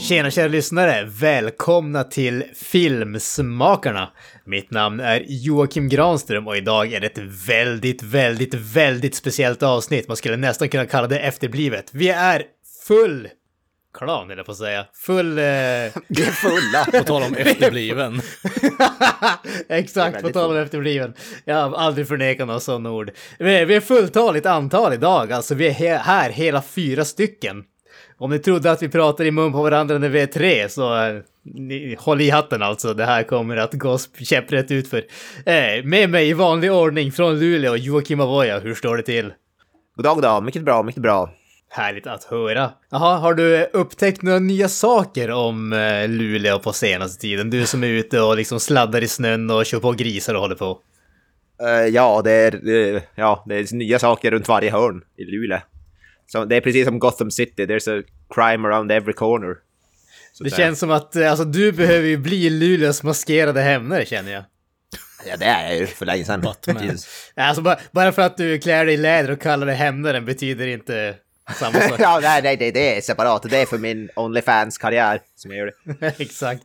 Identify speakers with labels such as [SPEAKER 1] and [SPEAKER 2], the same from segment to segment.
[SPEAKER 1] Tjena kära lyssnare! Välkomna till Filmsmakarna! Mitt namn är Joakim Granström och idag är det ett väldigt, väldigt, väldigt speciellt avsnitt. Man skulle nästan kunna kalla det efterblivet. Vi är full klan, eller på att säga. Full... Eh...
[SPEAKER 2] Vi är fulla.
[SPEAKER 3] På tal om efterbliven.
[SPEAKER 1] Exakt, på
[SPEAKER 2] väldigt
[SPEAKER 1] tal om efterbliven. Jag har aldrig förnekat några sådana ord. Vi vi är fulltaligt antal idag, alltså vi är he- här hela fyra stycken. Om ni trodde att vi pratade i mun på varandra när vi är tre, så eh, ni, håll i hatten alltså. Det här kommer att gå sp- käpprätt utför. Eh, med mig i vanlig ordning från Luleå, Joakim Avoya, hur står det till?
[SPEAKER 2] God dag, dag. Mycket bra, mycket bra.
[SPEAKER 1] Härligt att höra. Jaha, har du eh, upptäckt några nya saker om eh, Luleå på senaste tiden? Du som är ute och liksom sladdar i snön och kör på grisar och håller på.
[SPEAKER 2] Eh, ja, det är, eh, ja, det är nya saker runt varje hörn i Luleå. Så det är precis som Gotham City, there's a crime around every corner. Så
[SPEAKER 1] Det
[SPEAKER 2] där.
[SPEAKER 1] känns som att eh, alltså, du behöver ju bli Luleås maskerade hämnare känner jag.
[SPEAKER 2] Ja, det är jag ju för länge sedan.
[SPEAKER 3] Batman.
[SPEAKER 2] Jesus.
[SPEAKER 1] Alltså bara, bara för att du klär dig i läder och kallar dig hämnaren betyder inte samma sak.
[SPEAKER 2] ja, nej, nej, det, det är separat. Det är för min Onlyfans-karriär som jag gör det.
[SPEAKER 1] Exakt.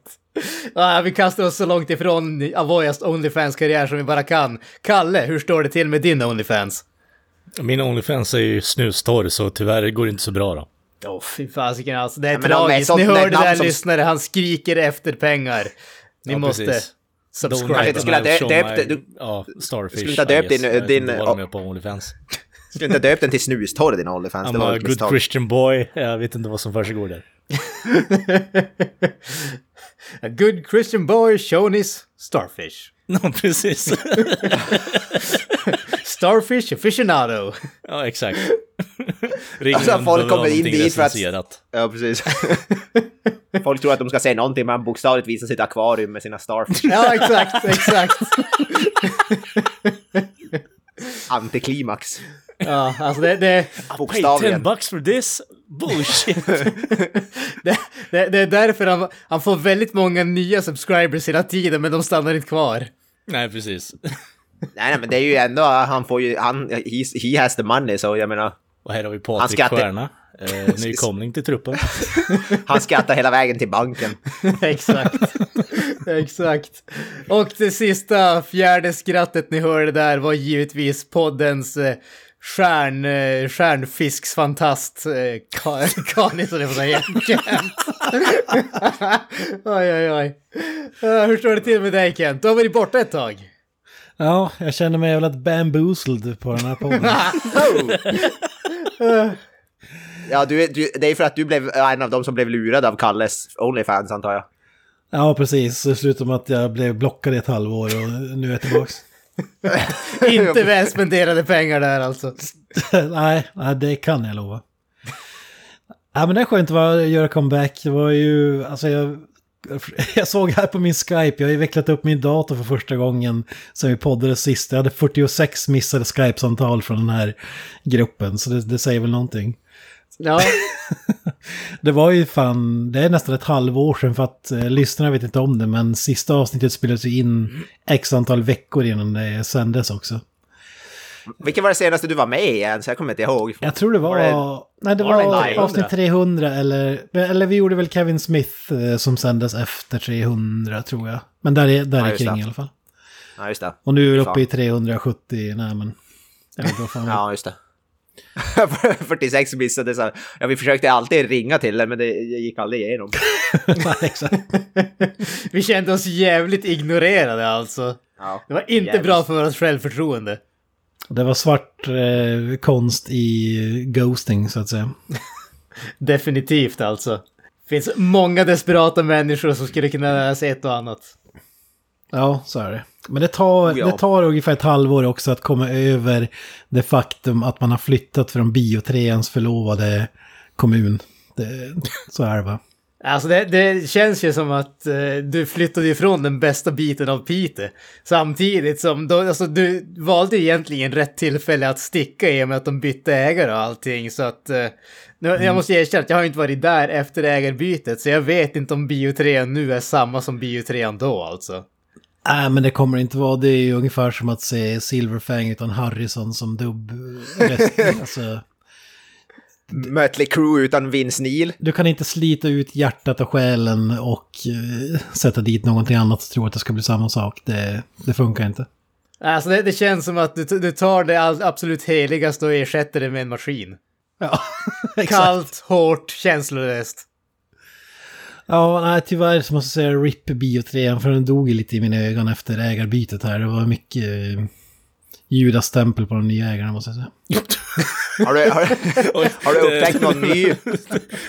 [SPEAKER 1] Ah, vi kastar oss så långt ifrån Avoyas Onlyfans-karriär som vi bara kan. Kalle, hur står det till med din Onlyfans?
[SPEAKER 3] Min Onlyfans är ju snustorr, så tyvärr går det inte så bra då.
[SPEAKER 1] Åh fy fasiken alltså, det är
[SPEAKER 2] Ja, men om det är
[SPEAKER 1] tragiskt.
[SPEAKER 2] sånt
[SPEAKER 1] Ni
[SPEAKER 2] där
[SPEAKER 1] hörde
[SPEAKER 2] namn
[SPEAKER 1] där
[SPEAKER 2] som-
[SPEAKER 1] lyssnare, han skriker efter pengar. Ni
[SPEAKER 3] Ja,
[SPEAKER 1] måste
[SPEAKER 3] precis.
[SPEAKER 1] subscribe.
[SPEAKER 2] Du skulle ha dö-
[SPEAKER 3] Show
[SPEAKER 2] döpt-
[SPEAKER 3] my-
[SPEAKER 2] du-
[SPEAKER 3] Ja, Starfish.
[SPEAKER 2] du skulle ha döpt
[SPEAKER 3] I guess.
[SPEAKER 2] din-
[SPEAKER 3] Jag vet
[SPEAKER 2] din-
[SPEAKER 3] inte vad de gör på Onlyfans.
[SPEAKER 2] Skulle inte ha döpt den till snustorr, din Onlyfans. Det
[SPEAKER 3] I'm
[SPEAKER 2] var
[SPEAKER 3] a
[SPEAKER 2] ett
[SPEAKER 3] good
[SPEAKER 2] misstag.
[SPEAKER 3] Christian boy. Jag vet inte vad som försiggår där.
[SPEAKER 1] A good Christian boy shown his starfish.
[SPEAKER 3] Ja, precis.
[SPEAKER 1] Starfish aficionado.
[SPEAKER 3] ja, exakt. Ringer
[SPEAKER 2] Alltså,
[SPEAKER 3] om du
[SPEAKER 2] folk
[SPEAKER 3] behöver
[SPEAKER 2] kommer in
[SPEAKER 3] någonting
[SPEAKER 2] dit för att-
[SPEAKER 3] recenserat.
[SPEAKER 2] Ja, precis. Folk tror att de ska säga någonting, men bokstavligt visar sitt akvarium med sina starfish.
[SPEAKER 1] Ja, exakt, exakt.
[SPEAKER 2] Antiklimax.
[SPEAKER 1] Ja, alltså det, det,
[SPEAKER 3] Pay 10
[SPEAKER 2] Bokstavligen.
[SPEAKER 3] bucks for this? Bullshit!
[SPEAKER 1] det, det, det är därför han, han får väldigt många nya subscribers hela tiden, men de stannar inte kvar.
[SPEAKER 3] Nej, precis.
[SPEAKER 2] Nej, nej, men det är ju ändå, han får ju, han, he, he has the money, så jag menar,
[SPEAKER 3] Och här har vi
[SPEAKER 2] Han
[SPEAKER 3] Patrik
[SPEAKER 2] ska inte-
[SPEAKER 3] Stjärna. Eh, nykomling till truppen.
[SPEAKER 2] han skrattar hela vägen till banken.
[SPEAKER 1] Exakt. Exakt. Och det sista fjärde skrattet ni hörde där var givetvis poddens eh, stjärn, eh, stjärnfisksfantast eh, Ka- Kanis, höll jag på att säga. Kent. oj, oj, oj. Eh, hur står det till med dig Kent? Du har varit borta ett tag.
[SPEAKER 4] Ja, jag känner mig jävla bamboozled på den här podden.
[SPEAKER 2] Ja, du, du, det är för att du blev en av dem som blev lurad av Kalles Onlyfans, antar jag.
[SPEAKER 4] ja, precis. Det slutade med att jag blev blockad i ett halvår och nu är jag tillbaka.
[SPEAKER 1] Inte väl spenderade pengar där alltså.
[SPEAKER 4] nej, nej, det kan jag lova. Ja, men det är skönt att vara- göra comeback. Det var ju, alltså jag, jag såg här på min Skype, jag har ju vecklat upp min dator för första gången sen vi poddade sist. Jag hade 46 missade Skype-samtal från den här gruppen, så det, det säger väl någonting.
[SPEAKER 1] Ja,
[SPEAKER 4] Det var ju fan, det är nästan ett halvår sedan för att eh, lyssnarna vet inte om det men sista avsnittet spelades ju in x antal veckor innan det sändes också.
[SPEAKER 2] Vilken var det senaste du var med i ens? Jag kommer inte ihåg.
[SPEAKER 4] Jag tror det var...
[SPEAKER 2] Var det-
[SPEAKER 4] nej, det
[SPEAKER 2] var
[SPEAKER 4] var,
[SPEAKER 2] det 900?
[SPEAKER 4] avsnitt 300 eller... Eller vi gjorde väl Kevin Smith eh, som sändes efter 300 tror jag. Men där är, där
[SPEAKER 2] Ja,
[SPEAKER 4] är
[SPEAKER 2] just
[SPEAKER 4] kring
[SPEAKER 2] det.
[SPEAKER 4] i alla fall.
[SPEAKER 2] Ja, just det.
[SPEAKER 4] Och nu är vi uppe
[SPEAKER 2] Fan.
[SPEAKER 4] i 370, nej men... Jag vet inte vad fan det är.
[SPEAKER 2] Ja, just det. 46 missade så här. Ja, vi försökte alltid ringa till den, men det gick aldrig igenom.
[SPEAKER 4] Nej, exakt.
[SPEAKER 1] vi kände oss jävligt ignorerade alltså.
[SPEAKER 2] Ja.
[SPEAKER 1] Det var inte
[SPEAKER 2] Jävligt.
[SPEAKER 1] bra för vårt självförtroende.
[SPEAKER 4] Det var svart eh, konst i eh, ghosting så att säga.
[SPEAKER 1] Definitivt alltså. Finns många desperata människor som skulle kunna lära sig ett och annat.
[SPEAKER 4] Ja, så är det. Men det tar,
[SPEAKER 2] Oh ja.
[SPEAKER 4] det tar ungefär ett halvår också att komma över det faktum att man har flyttat från biotreans förlovade kommun. Det, så är det va?
[SPEAKER 1] Alltså det, det känns ju som att eh, du flyttade ifrån den bästa biten av Piteå. Samtidigt som då, alltså, du valde egentligen rätt tillfälle att sticka i och med att de bytte ägare och allting. Så att, eh, nu, jag måste erkänna att jag har inte varit där efter ägarbytet. Så jag vet inte om biotrean nu är samma som biotrean då alltså.
[SPEAKER 4] Nej, men det kommer det inte vara. Det är ju ungefär som att se Silverfang utan Harrison som dubb. Rest, alltså,
[SPEAKER 2] Mötley Crew utan Vince Neil.
[SPEAKER 4] Du kan inte slita ut hjärtat och själen och eh, sätta dit någonting annat och tro att det ska bli samma sak. Det, det funkar inte.
[SPEAKER 1] Alltså det, det känns som att du, du tar det all, absolut heligaste och ersätter det med en maskin.
[SPEAKER 4] Ja, exakt.
[SPEAKER 1] Kallt, hårt, känslolöst.
[SPEAKER 4] Ja, nej, tyvärr så måste jag säga RIP biotrean för den dog ju lite i mina ögon efter ägarbytet här. Det var mycket eh, judastämpel på de nya ägarna måste jag säga.
[SPEAKER 2] Har du, har,
[SPEAKER 3] Oj,
[SPEAKER 2] har du
[SPEAKER 3] det-
[SPEAKER 2] upptäckt någon ny...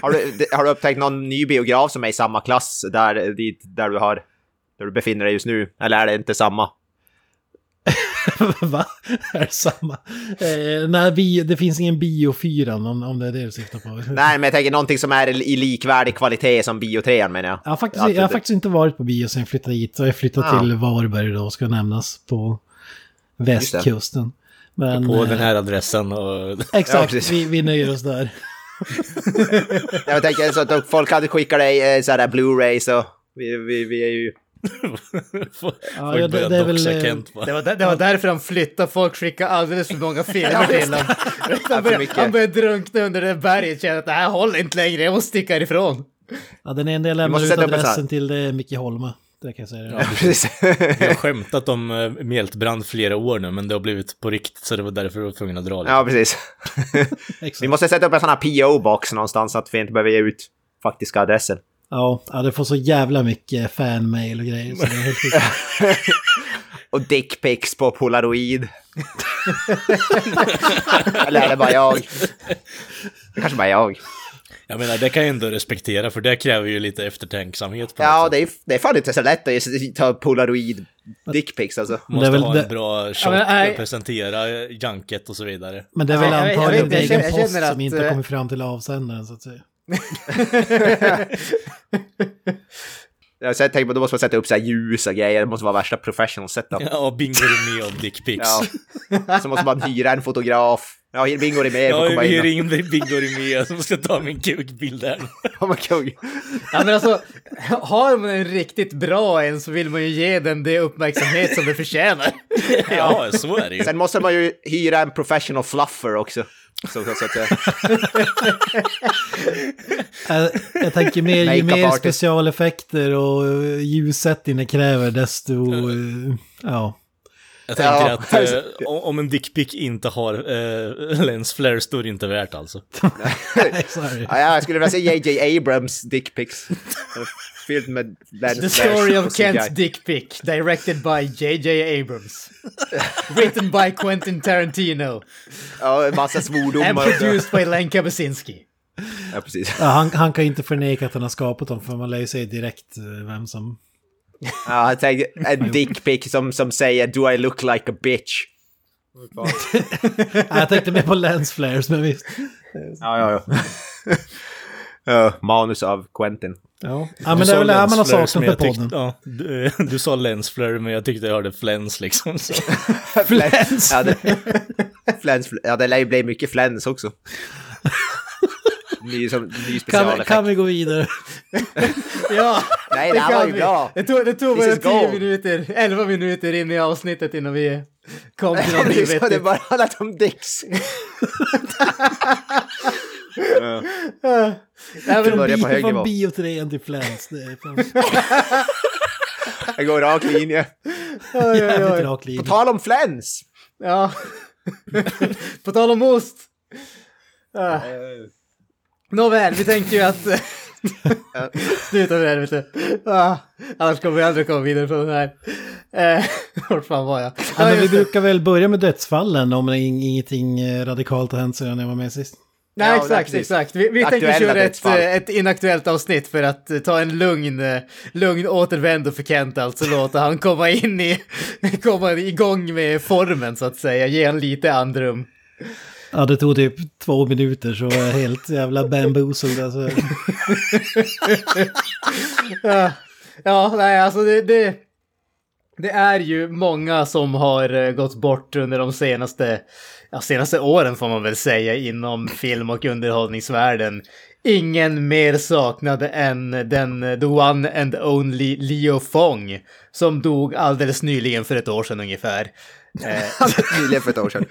[SPEAKER 2] Har du, har du upptäckt någon ny biograf som är i samma klass där, dit, där, du, har, där du befinner dig just nu? Eller är det inte samma?
[SPEAKER 4] Va? Är det samma? Eh, nej, bio, det finns ingen biofyran om, om det är det du syftar på.
[SPEAKER 2] Nej, men jag tänker någonting som är i likvärdig kvalitet som biotrean menar jag.
[SPEAKER 4] Jag har, faktiskt,
[SPEAKER 2] Att
[SPEAKER 4] jag har
[SPEAKER 2] det-
[SPEAKER 4] faktiskt inte varit på bio sen jag flyttade hit. Jag flyttade
[SPEAKER 2] Ja.
[SPEAKER 4] till Varberg då, ska nämnas, på
[SPEAKER 2] det.
[SPEAKER 4] västkusten. Men,
[SPEAKER 3] På
[SPEAKER 4] eh,
[SPEAKER 3] den här adressen och...
[SPEAKER 2] Ja,
[SPEAKER 4] Exakt,
[SPEAKER 2] precis.
[SPEAKER 4] vi, vi nöjer oss där.
[SPEAKER 2] Jag tänker så att folk hade skickat dig eh, sådana här Blu-rays och vi, vi, vi är ju...
[SPEAKER 4] ja,
[SPEAKER 3] Folk börjar
[SPEAKER 4] det- det är väl,
[SPEAKER 3] doxa
[SPEAKER 4] eh,
[SPEAKER 3] Kent bara.
[SPEAKER 1] Det var, där, det var därför han flyttade, folk skickade alldeles för många filmer till honom. Han
[SPEAKER 2] för
[SPEAKER 1] började,
[SPEAKER 2] mycket.
[SPEAKER 1] han började drunkna under det berget, kände att det här håller inte längre, jag måste sticka härifrån.
[SPEAKER 4] Ja, den enda jag
[SPEAKER 2] Vi
[SPEAKER 4] lämnar
[SPEAKER 2] måste
[SPEAKER 4] ut
[SPEAKER 2] sätta upp en sån här.
[SPEAKER 4] adressen till det är Micke Holme. Det kan jag säga. Ja.
[SPEAKER 2] Precis.
[SPEAKER 3] Vi har skämtat om eh, mjältbrand flera år nu, men det har blivit på riktigt, så det var därför vi var tvungna att dra lite.
[SPEAKER 2] Ja, precis.
[SPEAKER 4] Exakt.
[SPEAKER 2] Vi måste sätta upp en sån här PO-box någonstans så att vi inte behöver ge ut faktiska adressen.
[SPEAKER 4] Ja, ja, det får så jävla mycket fanmail och grejer. Så det är helt sjukt.
[SPEAKER 2] Och dickpics på polaroid. Eller är det bara jag? Det kanske bara är jag.
[SPEAKER 3] Jag menar, det kan jag ändå respektera, för det kräver ju lite eftertänksamhet. På
[SPEAKER 2] Ja,
[SPEAKER 3] något sätt.
[SPEAKER 2] det är, det är fan inte så lätt att just ta polaroid dickpics alltså.
[SPEAKER 3] Måste
[SPEAKER 4] Det är väl
[SPEAKER 3] ha
[SPEAKER 4] det-
[SPEAKER 3] en bra shot,
[SPEAKER 1] Ja, men, nej.
[SPEAKER 3] presentera eh, junket och så vidare.
[SPEAKER 4] Men det är väl
[SPEAKER 1] Jag- jag- jag
[SPEAKER 4] antagligen
[SPEAKER 1] vet inte, jag
[SPEAKER 4] egen
[SPEAKER 1] känner- jag
[SPEAKER 4] post
[SPEAKER 1] känner
[SPEAKER 4] som
[SPEAKER 1] att,
[SPEAKER 4] inte
[SPEAKER 1] eh,
[SPEAKER 4] kommer fram till avsändaren så att säga.
[SPEAKER 2] Jag tänker på, då måste man sätta upp så här ljus och grejer. Det måste vara värsta professional setup.
[SPEAKER 3] Ja, och bingo med om dickpics.
[SPEAKER 2] Ja. Så måste man hyra en fotograf. Ja, Bingo är med.
[SPEAKER 3] Ja,
[SPEAKER 2] Ja,
[SPEAKER 3] vi hyr
[SPEAKER 2] in.
[SPEAKER 3] in Bingo med som ska ta min kukbild här.
[SPEAKER 2] och- Ja, men kung.
[SPEAKER 1] Ja, men alltså, har man en riktigt bra en så vill man ju ge den det uppmärksamhet som den förtjänar.
[SPEAKER 3] Ja, så är det ju.
[SPEAKER 2] Sen måste man ju hyra en professional fluffer också. Så, så, så att, eh,
[SPEAKER 4] Jag, Äh, jag tänker mer, ju
[SPEAKER 2] Makeup
[SPEAKER 4] mer
[SPEAKER 2] artist.
[SPEAKER 4] specialeffekter och eh, ljussättning det kräver desto... eh, Ja.
[SPEAKER 3] Jag tänker
[SPEAKER 2] Ja.
[SPEAKER 3] att eh, om om en dickpic inte har eh, lens flare står det inte värt alltså.
[SPEAKER 4] Nej, sorry.
[SPEAKER 2] ja, jag skulle vilja se JJ Abrams dickpics. Fylld med lens
[SPEAKER 1] The story
[SPEAKER 2] flares
[SPEAKER 1] of
[SPEAKER 2] och CGI.
[SPEAKER 1] Kent's dick pic, directed by J.J. Abrams. Written by Quentin Tarantino.
[SPEAKER 2] Ja, en massa
[SPEAKER 1] And
[SPEAKER 2] svordomar. och-
[SPEAKER 1] produced by Len Kabesinski.
[SPEAKER 2] Ja, precis.
[SPEAKER 4] Ja, han, han kan inte förneka att han har skapat dem för man lär ju sig direkt eh, vem som...
[SPEAKER 2] Ja, jag tänkte en dickpic som, som säger “Do I look like a bitch?”
[SPEAKER 4] Ja, jag tänkte mer på lensflares men visst.
[SPEAKER 2] Ja, ja, ja. Ja, manus av Quentin.
[SPEAKER 4] Ja, ja
[SPEAKER 3] Du
[SPEAKER 4] men det
[SPEAKER 3] sa
[SPEAKER 4] är väl det här man har
[SPEAKER 3] lens flares, men
[SPEAKER 4] saknat
[SPEAKER 3] jag
[SPEAKER 4] på
[SPEAKER 3] tyckte-
[SPEAKER 4] podden.
[SPEAKER 3] Ja, du, du sa lens flare, men jag tyckte jag hörde flens liksom. Så.
[SPEAKER 2] Flens. Ja, det, flens. ja, det lär ju bli mycket flens också. Ny, som, ny
[SPEAKER 4] Kan,
[SPEAKER 2] specialeffekt.
[SPEAKER 4] kan vi gå vidare?
[SPEAKER 1] Ja,
[SPEAKER 2] Nej, det här
[SPEAKER 1] kan
[SPEAKER 2] var ju
[SPEAKER 1] vi.
[SPEAKER 2] bra.
[SPEAKER 1] Det tog, det tog
[SPEAKER 2] This
[SPEAKER 1] bara
[SPEAKER 2] is gold.
[SPEAKER 1] 10 minuter, 11 minuter in i avsnittet innan vi kom till något
[SPEAKER 2] Det är så, det är
[SPEAKER 1] vettigt.
[SPEAKER 2] bara handlat om dicks.
[SPEAKER 1] Nej, men-
[SPEAKER 2] börja på
[SPEAKER 4] Bio-
[SPEAKER 2] hög nivå.
[SPEAKER 4] Från biotrean till flens. Det är fan
[SPEAKER 2] Jag går rak linje.
[SPEAKER 1] oj, oj,
[SPEAKER 4] jävligt
[SPEAKER 1] oj.
[SPEAKER 4] rak linje.
[SPEAKER 2] På tal om flens!
[SPEAKER 1] Ja. På tal om ost. Ah.
[SPEAKER 2] Eh,
[SPEAKER 1] Nåväl, vi tänker ju att... Sluta med det helvete. Ah. Annars kommer vi aldrig komma vidare från den här. Eh, Vart fan var jag?
[SPEAKER 4] Ja,
[SPEAKER 1] Ja,
[SPEAKER 4] men vi
[SPEAKER 1] just det.
[SPEAKER 4] brukar väl börja med dödsfallen om det ing- ingenting eh, radikalt har hänt sedan jag var med sist.
[SPEAKER 1] Nej,
[SPEAKER 2] Ja, nej,
[SPEAKER 1] exakt,
[SPEAKER 2] precis.
[SPEAKER 1] exakt. Vi, vi tänker
[SPEAKER 2] Aktuella
[SPEAKER 1] köra ett,
[SPEAKER 2] dödsfall.
[SPEAKER 1] eh, ett inaktuellt avsnitt för att eh, ta en lugn, eh, lugn återvändo för Kent, alltså låta han komma in i, komma igång med formen så att säga, ge han lite andrum.
[SPEAKER 4] Ja, det tog typ två minuter så jag är helt jävla bamboozled. Alltså.
[SPEAKER 1] Ja, nej, alltså det, det, det är ju många som har eh, gått bort under de senaste, ja, senaste åren får man väl säga inom film och underhållningsvärlden. Ingen mer saknade än den eh, the one and only Leo Fong som dog
[SPEAKER 2] Alltså,
[SPEAKER 1] alldeles nyligen för ett år sedan ungefär. Eh,
[SPEAKER 2] Nyligen för ett år sedan.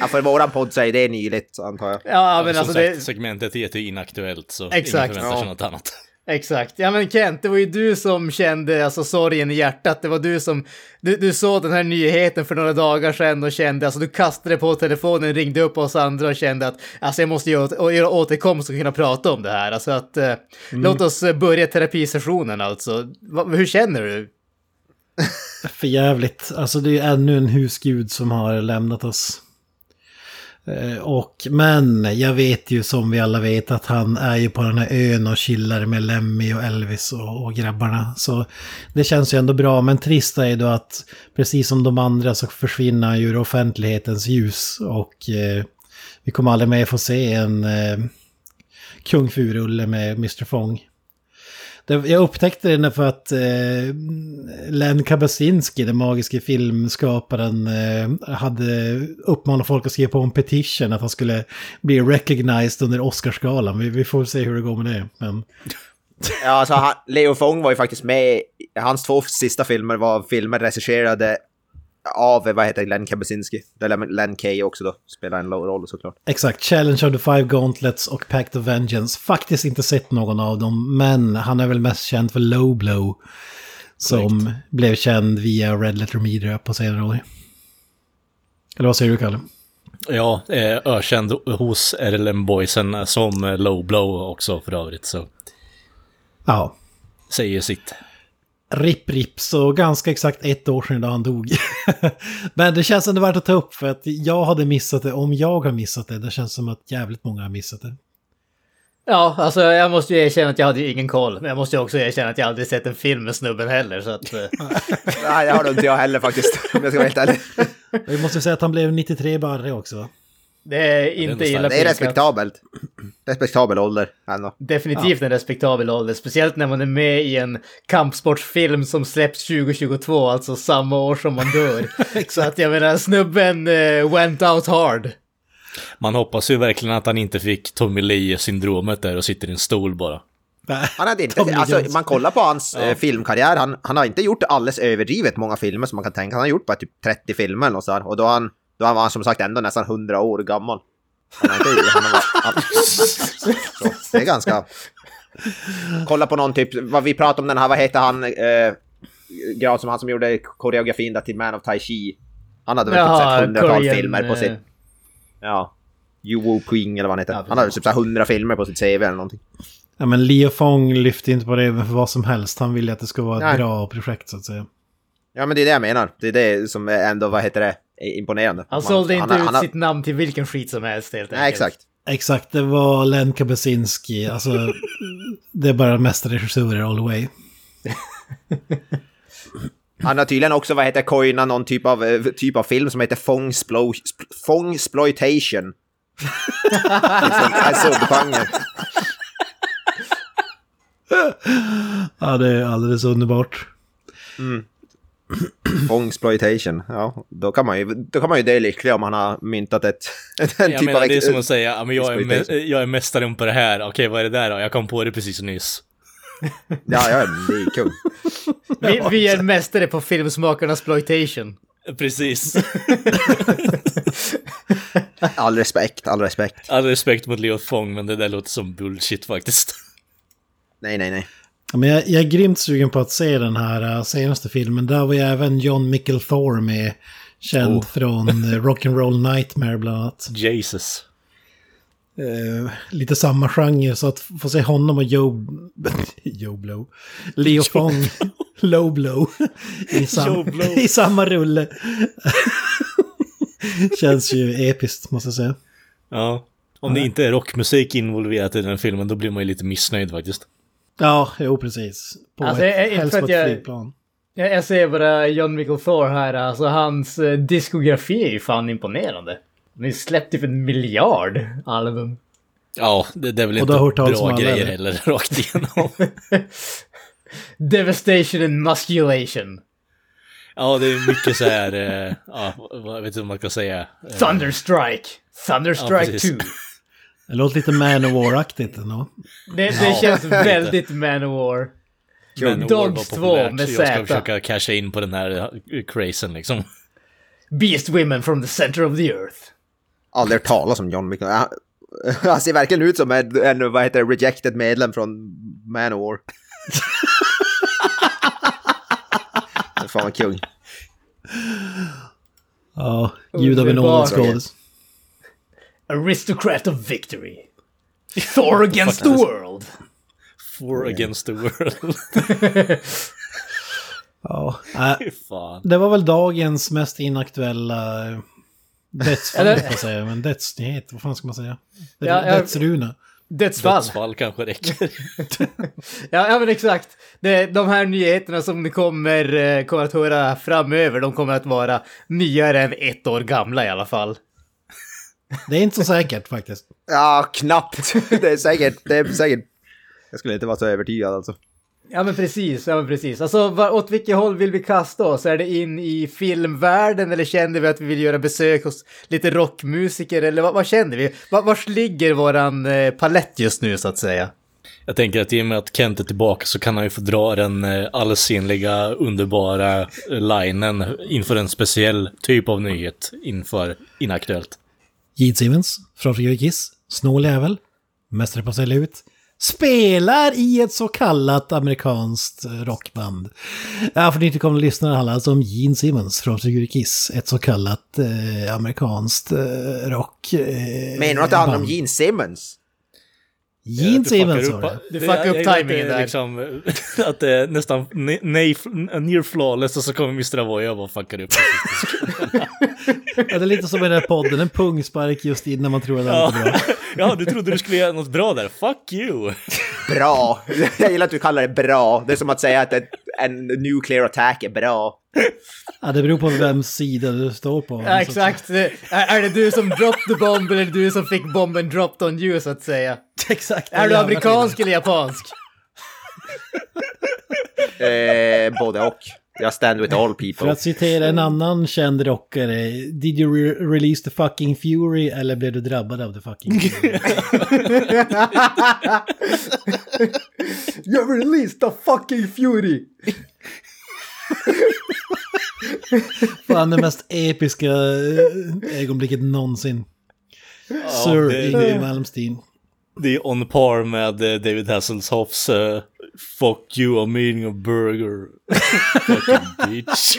[SPEAKER 2] Ja, för våran podd säger det nyligt, antar jag.
[SPEAKER 1] Ja, men
[SPEAKER 3] Som
[SPEAKER 1] alltså
[SPEAKER 3] sagt,
[SPEAKER 1] det...
[SPEAKER 3] segmentet heter ju inaktuellt så
[SPEAKER 1] Exakt.
[SPEAKER 3] ingen förväntar sig
[SPEAKER 2] Ja.
[SPEAKER 3] något annat.
[SPEAKER 1] Exakt. Ja men Kent, det var ju du som kände alltså, sorgen i hjärtat. Det var du som... Du, du såg den här nyheten för några dagar sedan och kände, alltså du kastade på telefonen, ringde upp oss andra och kände att alltså jag måste göra, å- göra återkomst och kunna prata om det här. Alltså att... Eh, Låt oss eh, börja terapisessionen alltså. Va, hur känner du?
[SPEAKER 4] För jävligt. Alltså det är ännu en husgud som har lämnat oss. Eh, Och, men jag vet ju som vi alla vet att han är ju på den här ön och chillar med Lemmy och Elvis och, och grabbarna. Så det känns ju ändå bra. Men trist är ju då att precis som de andra så försvinner han ju ur offentlighetens ljus. Och eh, vi kommer aldrig mer få se en eh, kung Furulle med Mr. Fong. Det, jag upptäckte det när för att eh, Len Kabasinski, den magiske filmskaparen, eh, hade uppmanat folk att skriva på en petition att han skulle bli recognized under Oscarsgalan. Vi, vi får se hur det går med det. Men
[SPEAKER 2] Ja, alltså, han, Leo Fong var ju faktiskt med. i- Hans två sista filmer var filmer regisserade av, eh, vad heter det, Len Kabasinski. Där Len- Len Kay också då spelar en roll såklart.
[SPEAKER 4] exakt, Challenge of the Five Gauntlets och Pact of Vengeance. Faktiskt inte sett någon av dem, men han är väl mest känd för Low Blow. Som blev känd via Red Letter Media på senare år. Eller vad säger du, Kalle?
[SPEAKER 3] Ja, eh, ökänd hos RLM Boysen som eh, Low Blow också för övrigt så
[SPEAKER 4] Ja.
[SPEAKER 3] säger ju sitt.
[SPEAKER 4] Ripp ripp, så ganska exakt ett år sedan idag han dog. Men det känns ändå värt att ta upp för att jag hade missat det. Om jag har missat det, det känns som att jävligt många har missat det.
[SPEAKER 1] Ja, alltså jag måste ju erkänna att jag hade ju ingen koll. Men jag måste ju också erkänna att jag aldrig sett en film med snubben heller. Så att, eh,
[SPEAKER 2] Nej, det har nog inte jag heller faktiskt, om jag ska vara helt ärlig.
[SPEAKER 4] Och Vi måste säga att han blev 93 barre också va?
[SPEAKER 1] det är inte
[SPEAKER 3] ändå
[SPEAKER 1] illa
[SPEAKER 2] Det är
[SPEAKER 1] pinsamt.
[SPEAKER 2] respektabelt. Respektabel ålder, ändå.
[SPEAKER 1] Definitivt en respektabel ålder, speciellt när man är med i en kampsportsfilm som släpps 2022, alltså samma år som man dör. så att jag menar, snubben eh, went out hard.
[SPEAKER 3] Man hoppas ju verkligen att han inte fick Tommy Lee-syndromet där och sitter i en stol bara.
[SPEAKER 2] Han hade
[SPEAKER 4] Tommy
[SPEAKER 2] inte, alltså,
[SPEAKER 4] Jones.
[SPEAKER 2] man kollar på hans eh, filmkarriär, han, han har inte gjort alldeles överdrivet många filmer som man kan tänka. Han har gjort bara typ 30 filmer eller något sådär. Och då, har han, då var han som sagt ändå nästan 100 år gammal. Han har inte, han har, han, så, det är ganska... Kolla på någon typ, vad vi pratade om den här, vad heter han, eh, grad som han som gjorde koreografin där till Man of Tai Chi. Han hade väl typ sett hundratal
[SPEAKER 1] Korean,
[SPEAKER 2] filmer på
[SPEAKER 1] eh,
[SPEAKER 2] sitt... Ja. Yu Woo Ping eller vad han heter.
[SPEAKER 1] Ja,
[SPEAKER 2] han hade typ så här 100 filmer på sitt CV eller någonting.
[SPEAKER 4] Ja men Leo Fong lyfte inte på det för vad som helst. Han ville att det ska vara ett
[SPEAKER 2] Nej.
[SPEAKER 4] bra projekt så att säga.
[SPEAKER 2] Ja men det är det jag menar. Det är det som är ändå, vad heter det, är imponerande.
[SPEAKER 1] Han sålde inte
[SPEAKER 2] har-
[SPEAKER 1] ut
[SPEAKER 2] har-
[SPEAKER 1] sitt namn till vilken skit som helst helt
[SPEAKER 2] Nej exakt.
[SPEAKER 4] Exakt, det var Len Kabesinski. Alltså, det är bara mästerregissörer all the way.
[SPEAKER 2] Han har tydligen också, vad heter det, coinat någon typ av, eh, typ av film som heter Fong, Splo, Sp- Fong Exploitation. en subgenre.
[SPEAKER 4] Ja, det är alldeles underbart.
[SPEAKER 2] Fong Exploitation. Ja, då kan man ju, då kan man ju dö lycklig om han har myntat ett, en
[SPEAKER 3] Jag
[SPEAKER 2] typ
[SPEAKER 3] menar,
[SPEAKER 2] av...
[SPEAKER 3] det är
[SPEAKER 2] ex-
[SPEAKER 3] som att säga, ja, men jag, är mä-
[SPEAKER 2] exploitation.
[SPEAKER 3] jag är mästaren på det här, okej vad är det där då? Jag kom på det precis nyss.
[SPEAKER 2] Ja, ja, det är kul.
[SPEAKER 1] Vi, vi är mästare på filmsmakarnas exploitation.
[SPEAKER 3] Precis.
[SPEAKER 2] All respekt, all respekt.
[SPEAKER 3] All respekt mot Leo Fong, men det där låter som bullshit faktiskt.
[SPEAKER 2] Nej, nej, nej.
[SPEAKER 4] Ja, Men jag, jag är grymt sugen på att se den här eh, senaste filmen. Där var ju även John Michael Thor med. Känd
[SPEAKER 1] Oh.
[SPEAKER 4] från eh, Rock'n'Roll Nightmare bland annat.
[SPEAKER 3] Jesus.
[SPEAKER 4] Eh, lite samma genre så att få se honom och Joe... Joe Blow. Leo Fong. Low Blow. I, sam,
[SPEAKER 3] Joe Blow.
[SPEAKER 4] I samma rulle. Känns ju episkt måste jag säga.
[SPEAKER 3] Ja. Om det inte är rockmusik involverat i den filmen, då blir man ju lite missnöjd faktiskt.
[SPEAKER 4] Ja, jo precis. På
[SPEAKER 1] Alltså, jag-
[SPEAKER 4] ett,
[SPEAKER 1] inte
[SPEAKER 4] helst
[SPEAKER 1] för
[SPEAKER 4] på ett
[SPEAKER 1] att jag-
[SPEAKER 4] flygplan.
[SPEAKER 1] Jag, jag ser bara John Michael Thor här, alltså hans eh, diskografi är ju fan imponerande. Ni släppte typ en miljard album.
[SPEAKER 3] Ja, det, det är väl
[SPEAKER 4] Och du
[SPEAKER 3] inte
[SPEAKER 4] har hört talas om
[SPEAKER 3] bra
[SPEAKER 4] alla,
[SPEAKER 3] grejer
[SPEAKER 4] eller?
[SPEAKER 3] heller rakt igenom.
[SPEAKER 1] Devastation and Musculation.
[SPEAKER 3] ja, det är mycket så här, eh, ja, vad vet du vad man ska säga? Eh,
[SPEAKER 1] Thunderstrike!
[SPEAKER 3] Ja,
[SPEAKER 1] Thunderstrike
[SPEAKER 3] precis.
[SPEAKER 1] 2.
[SPEAKER 4] Det låter lite Manowar-aktigt ändå.
[SPEAKER 1] Det, det känns väldigt Manowar.
[SPEAKER 3] Manowar var
[SPEAKER 1] Dogs 2
[SPEAKER 3] populärt,
[SPEAKER 1] med
[SPEAKER 3] så Jag
[SPEAKER 1] Z.
[SPEAKER 3] ska försöka casha in på den här eh, crazen liksom.
[SPEAKER 1] Beast women from the center of the earth.
[SPEAKER 2] Aldrig hört talas om John Wick. Han, han ser verkligen ut som en, en vad heter det, rejected medlem från Manowar. Fan vad kung.
[SPEAKER 4] Ja,
[SPEAKER 1] Oh,
[SPEAKER 4] ljud av en
[SPEAKER 1] Underbart.
[SPEAKER 4] ålderskådis.
[SPEAKER 1] Aristocrat of victory. Thor against the world.
[SPEAKER 3] For against the world.
[SPEAKER 4] Ja. Äh,
[SPEAKER 3] Fy fan.
[SPEAKER 4] det var väl dagens mest inaktuella eh, dödsfall,
[SPEAKER 1] Eller-
[SPEAKER 4] höll jag på att säga. Men dödsnyhet, vad fan ska man säga?
[SPEAKER 1] Ja, jag-
[SPEAKER 4] Dödsruna.
[SPEAKER 1] Dödsfall.
[SPEAKER 3] Dödsfall kanske räcker.
[SPEAKER 1] Ja, ja, men exakt. Det, de här nyheterna som ni kommer, eh, kommer att höra framöver, de kommer att vara nyare än ett år gamla i alla fall.
[SPEAKER 4] Det är inte så säkert faktiskt.
[SPEAKER 2] Ja, knappt. Det är säkert, det är säkert. Jag skulle inte vara så övertygad alltså.
[SPEAKER 1] Ja men precis, ja men precis. Alltså var, åt vilket håll vill vi kasta oss? Är det in i filmvärlden eller kände vi att vi vill göra besök hos lite rockmusiker eller vad, vad kände vi? Var, vars ligger våran eh, palett just nu så att säga?
[SPEAKER 3] Jag tänker att i och med att Kent är tillbaka så kan han ju få dra den eh, allsinnliga, underbara eh, linen inför en speciell typ av nyhet inför Inaktuellt.
[SPEAKER 4] Gene Simmons från Free Kiss, snål jävel, mästare på att sälja ut, spelar i ett så kallat amerikanskt eh, rockband. Ja, för nytillkomna lyssnare handlar det alltså om Gene Simmons från Free Kiss, ett så kallat eh, amerikanskt eh, rock... Eh,
[SPEAKER 2] Menar du att det handlar om
[SPEAKER 4] band.
[SPEAKER 2] Gene Simmons?
[SPEAKER 4] Gene
[SPEAKER 3] Du Eh, fuckar
[SPEAKER 4] Simmons?
[SPEAKER 3] upp-
[SPEAKER 4] var det.
[SPEAKER 1] Du fuckar
[SPEAKER 3] jag
[SPEAKER 1] upp
[SPEAKER 3] gillar att
[SPEAKER 1] timingen
[SPEAKER 3] det är
[SPEAKER 1] där.
[SPEAKER 3] Liksom, att det är nästan ne- nej, near flawless och så kommer Mr. Avoya och bara fuckar upp.
[SPEAKER 4] Ja, det är lite som i den här podden, en pungspark just innan man tror att allt är bra.
[SPEAKER 3] ja, du trodde du skulle göra något bra där. Fuck you!
[SPEAKER 2] Bra. Jag gillar att du kallar det bra. Det är som att säga att ett, en nuclear attack är bra.
[SPEAKER 4] Ja, det beror på vems sida du står på. Alltså,
[SPEAKER 1] Ja, exakt. Det- Är, är det du som droppade bomben eller du som fick bomben dropped on you så att säga?
[SPEAKER 4] exakt.
[SPEAKER 1] Är du amerikansk eller japansk?
[SPEAKER 2] Eh, både och. Jag stand with all
[SPEAKER 4] För
[SPEAKER 2] people.
[SPEAKER 4] att citera en annan känd rockare, Did you re- release the fucking fury eller blev du drabbad av the fucking fury?
[SPEAKER 1] You released the fucking fury!
[SPEAKER 4] Fan det mest episka eh, ögonblicket någonsin. Sir
[SPEAKER 3] det-
[SPEAKER 4] Yngwie Malmsteen.
[SPEAKER 3] Det är on par med eh, David Hasselhoffs eh, Fuck you, I'm eating a burger. Fucking bitch.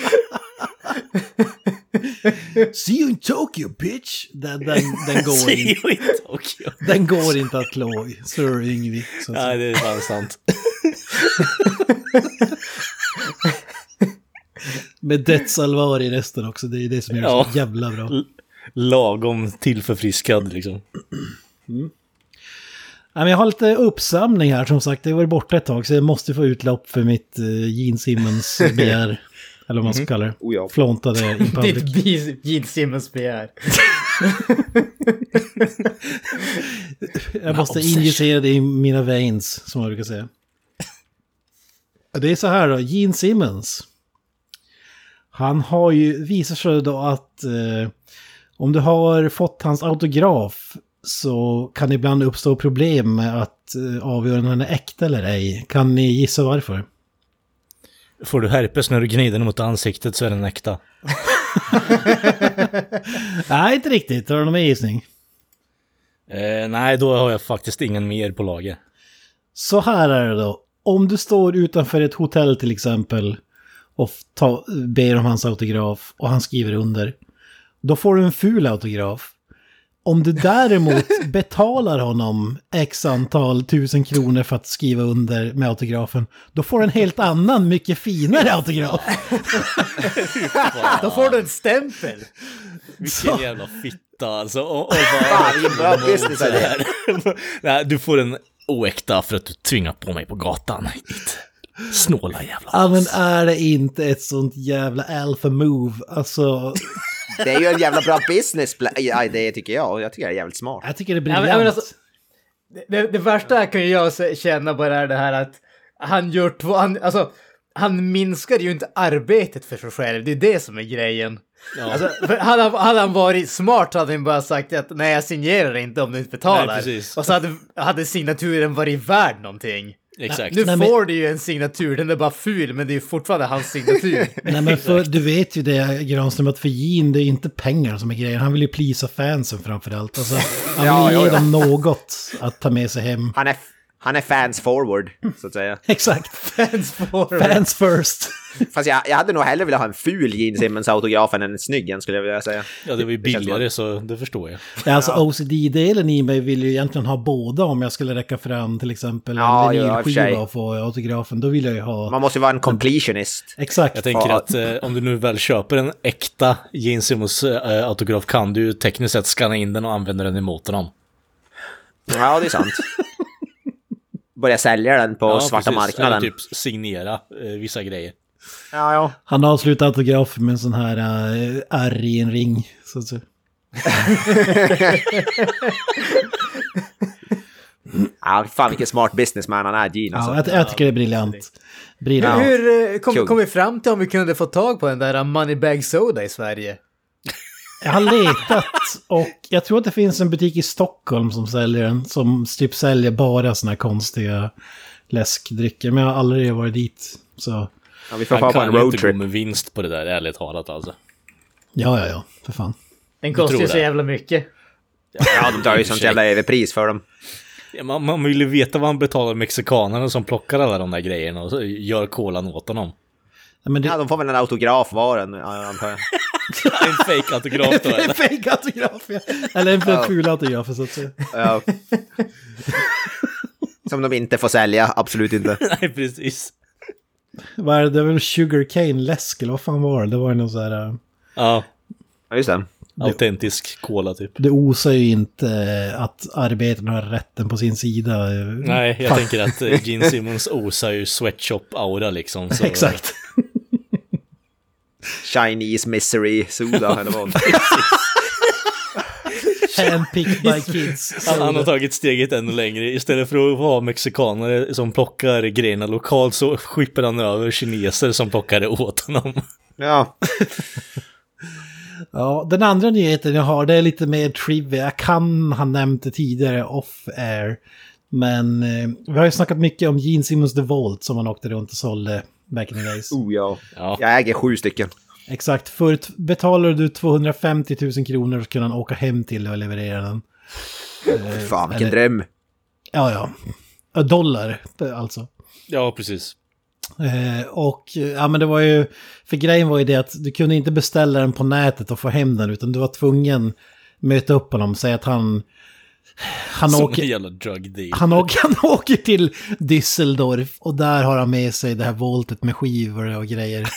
[SPEAKER 4] See you in Tokyo bitch! Den, den, den, går,
[SPEAKER 3] Säger
[SPEAKER 4] in,
[SPEAKER 3] jag inte. Okej.
[SPEAKER 4] den går inte att klå i, Sir Yngwie. Så att säga.
[SPEAKER 3] Nej, det är fan sant.
[SPEAKER 4] Med dödsallvar i resten också, det är det som är
[SPEAKER 3] Ja.
[SPEAKER 4] så jävla bra.
[SPEAKER 3] Lagom tillförfriskad liksom.
[SPEAKER 4] Ja, men jag har lite uppsamling här som sagt. Jag har varit borta ett tag så jag måste få utlopp för mitt uh, Gene Simmons begär. eller vad man ska kalla det.
[SPEAKER 2] Oh ja.
[SPEAKER 4] Flåntade in public.
[SPEAKER 1] Ditt bis- Gene Simmons begär.
[SPEAKER 4] jag måste injicera det i mina veins som man brukar säga. Det är så här då, Gene Simmons. Han har ju, visar sig då att eh, om du har fått hans autograf så kan det ibland uppstå problem med att eh, avgöra om han är äkta eller ej. Kan ni gissa varför?
[SPEAKER 3] Får du herpes när du gnider den mot ansiktet så är den äkta.
[SPEAKER 4] Nej, inte riktigt. Har du någon mer gissning?
[SPEAKER 3] Eh, nej, då har jag faktiskt ingen mer på lager.
[SPEAKER 4] Så här är det då. Om du står utanför ett hotell till exempel och ta, ber om hans autograf och han skriver under. Då får du en ful autograf. Om du däremot betalar honom x antal tusen kronor för att skriva under med autografen, då får du en helt annan, mycket finare autograf.
[SPEAKER 1] Då får du en stämpel!
[SPEAKER 3] Vilken jävla fitta alltså. Och, och
[SPEAKER 2] Fan,
[SPEAKER 3] bara,
[SPEAKER 2] vilken bra business är det.
[SPEAKER 3] nej, du får en oäkta för att du tvingar på mig på gatan. Ditt snåla jävla
[SPEAKER 4] Ja, men
[SPEAKER 3] ass.
[SPEAKER 4] är det inte ett sånt jävla alpha move? Alltså,
[SPEAKER 2] Det är ju en jävla bra business plan. Ja, det tycker jag. Och jag tycker det är jävligt smart.
[SPEAKER 4] jag tycker det är
[SPEAKER 1] Ja, men-
[SPEAKER 4] briljant.
[SPEAKER 1] ja, men alltså, det, det värsta kan ju jag se- känna bara är det här att han gör två... Han, alltså, han minskar ju inte arbetet för sig själv, det är det som är grejen. Alltså, för hade, han, hade han varit smart hade han bara sagt att nej jag signerar inte om du inte betalar.
[SPEAKER 3] Nej, precis.
[SPEAKER 1] och så hade, hade signaturen varit värd någonting.
[SPEAKER 3] Exakt.
[SPEAKER 1] Nu
[SPEAKER 4] Nej, men-
[SPEAKER 1] får du ju en signatur, den är bara ful, men det är ju fortfarande hans signatur.
[SPEAKER 4] Nej men för, du vet ju det Granström, att för Jean det är inte pengar som är grejen. Han vill ju plisa fansen framförallt. Alltså, han vill
[SPEAKER 2] Ja,
[SPEAKER 4] ge
[SPEAKER 2] ja, ja.
[SPEAKER 4] dem något att ta med sig hem.
[SPEAKER 2] Han är, han är fans forward, så att säga.
[SPEAKER 4] Exakt.
[SPEAKER 1] Fans forward.
[SPEAKER 4] Fans first.
[SPEAKER 2] Fast jag, jag hade nog hellre velat ha en ful Gene Simmons-autograf än en snygg en, skulle jag vilja säga.
[SPEAKER 3] Ja, det var ju
[SPEAKER 2] Det känns
[SPEAKER 3] billigare så det förstår jag.
[SPEAKER 4] Ja, alltså OCD-delen i mig vill ju egentligen ha båda om jag skulle räcka fram till exempel en
[SPEAKER 2] Ja, ja, i och för
[SPEAKER 4] vinylskiva
[SPEAKER 2] sig.
[SPEAKER 4] och få autografen. Då vill jag ju ha...
[SPEAKER 2] Man måste ju vara en completionist.
[SPEAKER 4] Exakt.
[SPEAKER 3] Jag tänker att eh, om du nu väl köper en äkta Gene Simmons eh, autograf kan du ju tekniskt sett scanna in den och använda den emot honom.
[SPEAKER 2] Ja, det är sant. Börja sälja den på svarta
[SPEAKER 3] precis.
[SPEAKER 2] marknaden.
[SPEAKER 3] Eller typ signera eh, vissa grejer.
[SPEAKER 2] Ja, ja.
[SPEAKER 4] Han avslutar autografen med en sån här eh, R i en ring. Så att säga.
[SPEAKER 2] ja fan vilken smart businessman han är, Gene.
[SPEAKER 4] Ja,
[SPEAKER 2] Alltså.
[SPEAKER 4] jag, jag tycker det är briljant. Briljant.
[SPEAKER 1] Hur eh, kom,
[SPEAKER 2] Kung.
[SPEAKER 1] kom vi fram till om vi kunde få tag på den där Moneybag Soda i Sverige?
[SPEAKER 4] Jag har letat och jag tror att det finns en butik i Stockholm som säljer den. Som typ säljer bara såna här konstiga läskdrycker. Men jag har aldrig varit dit. Så
[SPEAKER 2] Ja, vi får
[SPEAKER 3] Han
[SPEAKER 2] ta på en
[SPEAKER 3] kan ju inte gå
[SPEAKER 2] roadtrip.
[SPEAKER 3] med vinst på det där, ärligt talat alltså.
[SPEAKER 4] ja, ja, ja. För fan.
[SPEAKER 1] Den kostar
[SPEAKER 3] tror
[SPEAKER 1] ju så
[SPEAKER 3] det.
[SPEAKER 1] jävla mycket.
[SPEAKER 2] Ja, de tar ju sånt jävla överpris för dem.
[SPEAKER 3] Ja, Man, man vill ju veta vad han betalar mexikanerna som plockar alla de där grejerna och så gör kolan åt honom.
[SPEAKER 4] Nej, Men det,
[SPEAKER 2] Ja, de får väl en autograf var, en- ja, antar jag.
[SPEAKER 3] En fake autograf då
[SPEAKER 4] en
[SPEAKER 3] eller?
[SPEAKER 4] fake autograf, ja. Eller en ful- ful autograf, så att säga.
[SPEAKER 2] Ja. Som de inte får sälja, absolut inte.
[SPEAKER 3] Nej, precis.
[SPEAKER 4] Vad är det? Det var väl sugarcane-läsk, eller vad fan var det? Det var ju någon så här... eh,
[SPEAKER 3] Ja,
[SPEAKER 2] Ja, just det.
[SPEAKER 3] autentisk kola typ.
[SPEAKER 4] Det osar ju inte eh, att arbetarna har rätten på sin sida. eh,
[SPEAKER 3] Nej, jag
[SPEAKER 4] Fan.
[SPEAKER 3] tänker att eh, Gene Simmons osar ju sweatshop-aura liksom. Så
[SPEAKER 4] Exakt.
[SPEAKER 2] Chinese misery soda, eller vad.
[SPEAKER 4] Handpicked by kids.
[SPEAKER 3] Han, han har tagit steget ännu längre. Istället för att ha mexikanare som plockar grejerna lokalt så skippar han över kineser som plockar det åt honom.
[SPEAKER 2] Ja.
[SPEAKER 4] Ja, den andra nyheten jag har, det är lite mer trivia. Jag kan ha nämnt det tidigare off-air. Men eh, vi har ju snackat mycket om Gene Simmons The Vault som han åkte runt och sålde back in the days.
[SPEAKER 2] Oh, ja.
[SPEAKER 3] Ja.
[SPEAKER 2] Jag äger sju stycken.
[SPEAKER 4] Exakt, förut betalade du 250 000 kronor så kunde han åka hem till dig och leverera den.
[SPEAKER 2] Fan, vilken dröm.
[SPEAKER 4] Ja, ja. Ja, Dollar, det- alltså.
[SPEAKER 3] Ja, precis.
[SPEAKER 4] Eh, och eh, ja men det var ju, för grejen var ju det att du kunde inte beställa den på nätet och få hem den utan du var tvungen möta upp honom, säga att han... Han
[SPEAKER 3] Som
[SPEAKER 4] åker,
[SPEAKER 3] en jävla drug deal.
[SPEAKER 4] han, åker, han åker till Düsseldorf och där har han med sig det här voltet med skivor och grejer.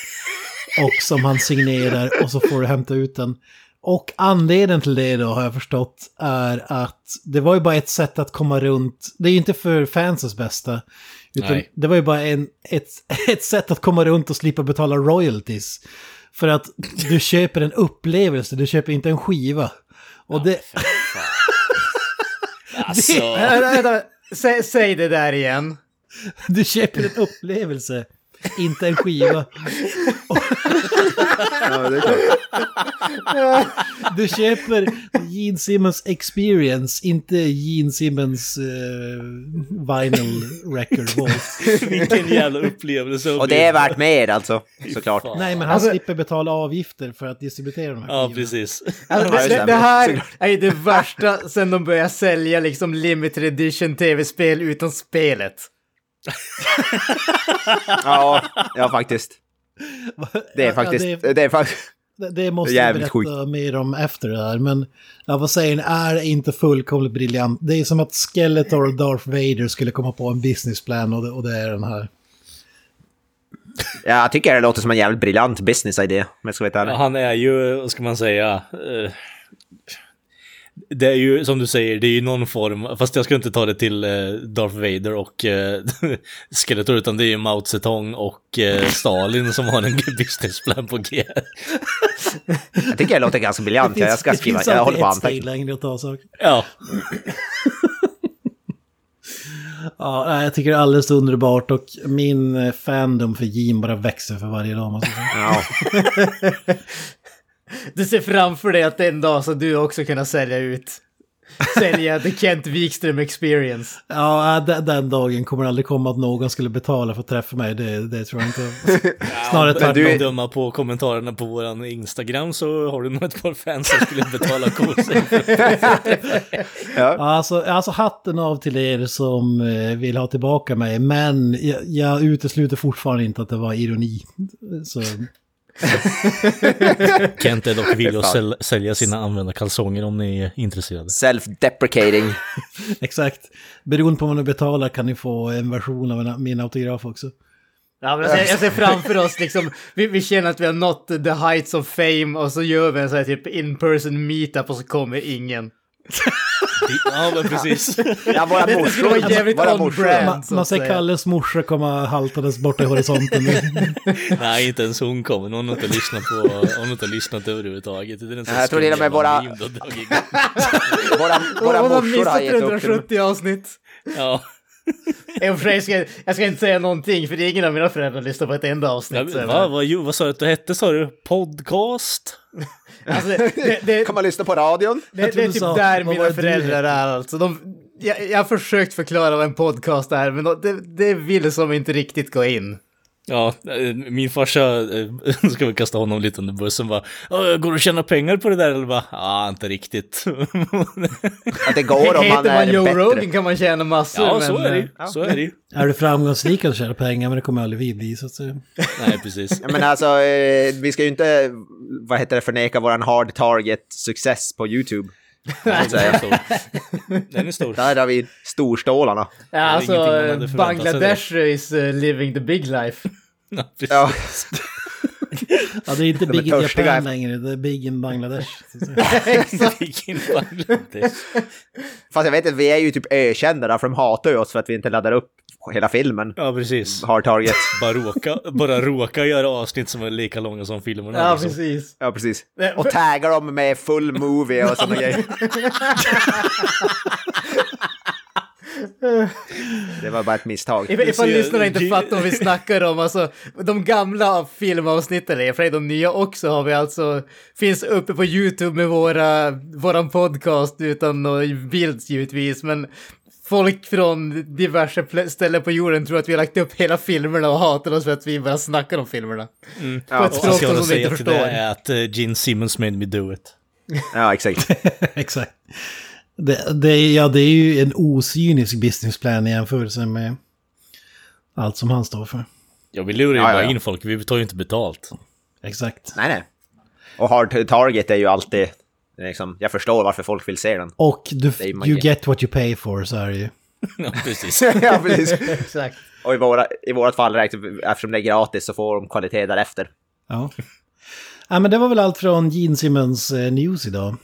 [SPEAKER 4] Och som han signerar och så får du hämta ut den. Och anledningen till det då har jag förstått är att det var ju bara ett sätt att komma runt. Det är ju inte för fansens bästa. Utan
[SPEAKER 3] Nej.
[SPEAKER 4] det var ju bara en, ett, ett sätt att komma runt och slippa betala royalties. För att du köper en upplevelse, du köper inte en skiva. Och det...
[SPEAKER 3] Alltså,
[SPEAKER 1] Vänta, vänta, sä, säg det där igen.
[SPEAKER 4] Du köper en upplevelse, inte en skiva.
[SPEAKER 2] Ja, det är klart.
[SPEAKER 4] Du köper Gene Simmons experience, inte Gene Simmons eh, vinyl record vault.
[SPEAKER 3] vilken jävla upplevelse. att
[SPEAKER 2] Och
[SPEAKER 3] bli-
[SPEAKER 2] det är värt mer alltså, såklart.
[SPEAKER 3] Fan.
[SPEAKER 4] Nej, men han
[SPEAKER 1] Alltså-
[SPEAKER 4] slipper betala avgifter för att distribuera de här
[SPEAKER 3] Ja,
[SPEAKER 4] skivorna.
[SPEAKER 3] precis.
[SPEAKER 1] Alltså,
[SPEAKER 2] Ja,
[SPEAKER 1] det,
[SPEAKER 2] just
[SPEAKER 1] det,
[SPEAKER 2] det.
[SPEAKER 1] det här är ju det värsta sen de började sälja liksom limited edition tv-spel utan spelet.
[SPEAKER 2] Ja, ja faktiskt. Det är
[SPEAKER 4] Ja,
[SPEAKER 2] faktiskt...
[SPEAKER 4] ja,
[SPEAKER 2] det... är faktiskt...
[SPEAKER 4] det, det måste
[SPEAKER 2] det är
[SPEAKER 4] jag
[SPEAKER 2] jävligt
[SPEAKER 4] berätta
[SPEAKER 2] sjukt.
[SPEAKER 4] mer om efter det här. Men ja, vad säger ni, är det inte fullkomligt briljant? Det är som att Skeletor och Darth Vader skulle komma på en businessplan och det, och det är den här.
[SPEAKER 2] Ja, jag tycker det låter som en jävligt briljant business-idé, om jag ska vara helt ärlig.
[SPEAKER 3] Han är ju, vad ska man säga, eh, det är ju som du säger, det är ju någon form, fast jag ska inte ta det till eh, Darth Vader och eh, Skeletor, utan det är ju Mao Zedong och eh, Stalin som har en businessplan på G.
[SPEAKER 2] Jag tycker det låter ganska briljant. Jag ska
[SPEAKER 4] det
[SPEAKER 2] skriva,
[SPEAKER 4] finns
[SPEAKER 2] jag
[SPEAKER 4] alltid
[SPEAKER 2] håller på
[SPEAKER 4] ett
[SPEAKER 2] att
[SPEAKER 4] steg
[SPEAKER 2] anteckna.
[SPEAKER 4] längre att ta saker.
[SPEAKER 3] Ja,
[SPEAKER 4] Ja, nej, jag tycker det är alldeles underbart och min eh, fandom för Jim bara växer för varje dag. måste jag säga.
[SPEAKER 2] Ja.
[SPEAKER 1] Du ser framför dig att en dag så du också kunna sälja ut sälja the Kent Wikström experience.
[SPEAKER 4] Ja, äh, den, den dagen kommer aldrig komma att någon skulle betala för att träffa mig. Det, det tror jag inte. Snarare
[SPEAKER 3] Snarare
[SPEAKER 4] tvärtom.
[SPEAKER 3] tvärtom. Du... döma på kommentarerna på våran Instagram så har du nog ett par fans som skulle betala kosing.
[SPEAKER 2] Ja.
[SPEAKER 4] Alltså, alltså hatten av till er som eh, vill ha tillbaka mig. Men jag, jag utesluter fortfarande inte att det var ironi. Så,
[SPEAKER 3] Kent är dock villig att
[SPEAKER 2] Fan.
[SPEAKER 3] säl- sälja sina använda kalsonger om ni är intresserade.
[SPEAKER 2] Self-deprecating.
[SPEAKER 4] exakt. Beroende på vad ni betalar kan ni få en version av mina- min autograf också.
[SPEAKER 1] Ja, men jag, ser, jag ser framför oss liksom, vi, vi känner att vi har nått the heights of fame och så gör vi en sån här typ in-person meetup och så kommer ingen.
[SPEAKER 3] Ja, men precis.
[SPEAKER 2] Ja, våra
[SPEAKER 1] Det skulle vara jävligt
[SPEAKER 2] morsor. Våra
[SPEAKER 1] on
[SPEAKER 2] morsor.
[SPEAKER 1] brand.
[SPEAKER 4] Man,
[SPEAKER 1] så
[SPEAKER 4] man
[SPEAKER 1] att
[SPEAKER 4] ser
[SPEAKER 1] säga.
[SPEAKER 4] Kalles morsa komma haltandes borta i horisonten.
[SPEAKER 3] Nej, inte ens hon kommer. Hon har inte lyssnat på... Hon har inte lyssnat överhuvudtaget. Det är en sån
[SPEAKER 2] Jag tror till och med
[SPEAKER 3] skum
[SPEAKER 2] våra-
[SPEAKER 3] jävla meme du har dragit igång.
[SPEAKER 2] Våra, våra
[SPEAKER 1] Hon har
[SPEAKER 2] morsor har
[SPEAKER 1] missat
[SPEAKER 2] gett upp. dem.
[SPEAKER 1] 370 avsnitt.
[SPEAKER 3] Ja.
[SPEAKER 1] Jag, jag, ska, jag ska inte säga någonting för det är ingen av mina föräldrar lyssnar på ett enda
[SPEAKER 3] Ja,
[SPEAKER 1] avsnitt. så
[SPEAKER 3] men
[SPEAKER 1] jag
[SPEAKER 3] va,
[SPEAKER 1] bara-
[SPEAKER 3] vad, jo, vad sa du att du hette sa du? Podcast?
[SPEAKER 1] Alltså, det, det, det,
[SPEAKER 2] Kan man lyssna på radion?
[SPEAKER 1] det,
[SPEAKER 4] trodde
[SPEAKER 1] är
[SPEAKER 4] du
[SPEAKER 1] typ
[SPEAKER 4] sa,
[SPEAKER 1] där
[SPEAKER 4] vad
[SPEAKER 1] mina
[SPEAKER 4] var det du
[SPEAKER 1] föräldrar
[SPEAKER 4] hette?
[SPEAKER 1] är alltså. De, jag, jag har försökt förklara vad en podcast är men de- det, det vill som inte riktigt gå in.
[SPEAKER 3] Ja, eh, min farsa, eh, ska vi kasta honom lite under bussen bara, "Åh, går det att tjäna pengar på det där eller bara, ja inte riktigt.
[SPEAKER 2] Att det går om man
[SPEAKER 1] Heter man
[SPEAKER 2] är
[SPEAKER 1] Joe
[SPEAKER 2] bättre.
[SPEAKER 1] Rogan kan man tjäna massor.
[SPEAKER 3] ja, så
[SPEAKER 1] men,
[SPEAKER 3] är det ju.
[SPEAKER 1] eh,
[SPEAKER 3] Så är det ju.
[SPEAKER 4] är du framgångsrik kan du tjäna pengar, men det kommer aldrig vi bli. Så att, säga.
[SPEAKER 3] Nej, precis.
[SPEAKER 2] Ja, Men alltså, eh, vi ska ju inte, vad heter det, förneka våran hard target-success på YouTube.
[SPEAKER 3] Den är stor. Den är stor.
[SPEAKER 2] Där har vi storstålarna.
[SPEAKER 1] Ja,
[SPEAKER 3] är
[SPEAKER 1] alltså,
[SPEAKER 3] ingenting man hade förväntat sig
[SPEAKER 1] Bangladesh is eh, living the big life.
[SPEAKER 3] Ja, precis.
[SPEAKER 2] Ja,
[SPEAKER 4] Ja, det är inte
[SPEAKER 2] är
[SPEAKER 4] Big in
[SPEAKER 2] törstiga.
[SPEAKER 4] Japan längre, det är Big in Bangladesh. så att säga.
[SPEAKER 3] Vilken Bangladesh.
[SPEAKER 2] fast jag vet inte, vi är ju typ ökända där, för de hatar ju oss för att vi inte laddar upp hela filmen.
[SPEAKER 3] Ja, precis.
[SPEAKER 2] Hard target.
[SPEAKER 3] Bara råka, bara råka göra avsnitt som är lika långa som filmerna.
[SPEAKER 1] Ja,
[SPEAKER 3] liksom.
[SPEAKER 1] precis.
[SPEAKER 2] Ja, precis.
[SPEAKER 1] Nej,
[SPEAKER 2] Och
[SPEAKER 1] för-
[SPEAKER 2] taggar dem med full movie och sådana grejer. Det var bara ett misstag.
[SPEAKER 1] If- Ifall
[SPEAKER 3] ser-
[SPEAKER 1] lyssnarna inte
[SPEAKER 3] det-
[SPEAKER 1] fattar vad vi snackar om, alltså de gamla filmavsnitten, eller i och för sig de nya också, har vi alltså, finns uppe på YouTube med våra, våran podcast utan någon bild givetvis, men folk från diverse plä- ställen på jorden tror att vi har lagt upp hela filmerna och hatar oss för att vi bara snackar om filmerna. På
[SPEAKER 2] Ja,
[SPEAKER 1] ett
[SPEAKER 3] Mm. Och allt
[SPEAKER 1] språk
[SPEAKER 3] jag
[SPEAKER 1] som
[SPEAKER 3] har att
[SPEAKER 1] de
[SPEAKER 3] säga
[SPEAKER 1] inte
[SPEAKER 3] till det
[SPEAKER 1] förstår.
[SPEAKER 3] är att eh, Gene Simmons made me do it.
[SPEAKER 2] ja, exakt.
[SPEAKER 4] Exakt. Det, det, är- ja, det är ju en osynisk businessplan i jämförelse med allt som han står för.
[SPEAKER 3] Ja, vi lurar ju
[SPEAKER 2] Ja, ja,
[SPEAKER 3] bara
[SPEAKER 2] ja.
[SPEAKER 3] in folk, vi tar ju inte betalt.
[SPEAKER 4] Exakt.
[SPEAKER 2] Nej, nej. Och hard target är ju alltid... Liksom, jag förstår varför folk vill se den.
[SPEAKER 4] Och du,
[SPEAKER 2] är magi.
[SPEAKER 4] you get what you pay for, så är det ju.
[SPEAKER 3] Ja, precis.
[SPEAKER 2] ja, precis.
[SPEAKER 1] Exakt.
[SPEAKER 2] Och i, våra, i vårat fall, räknar- eftersom det är gratis, så får de kvalitet därefter.
[SPEAKER 4] Ja. ja, men det var väl allt från Gene Simmons eh, news idag.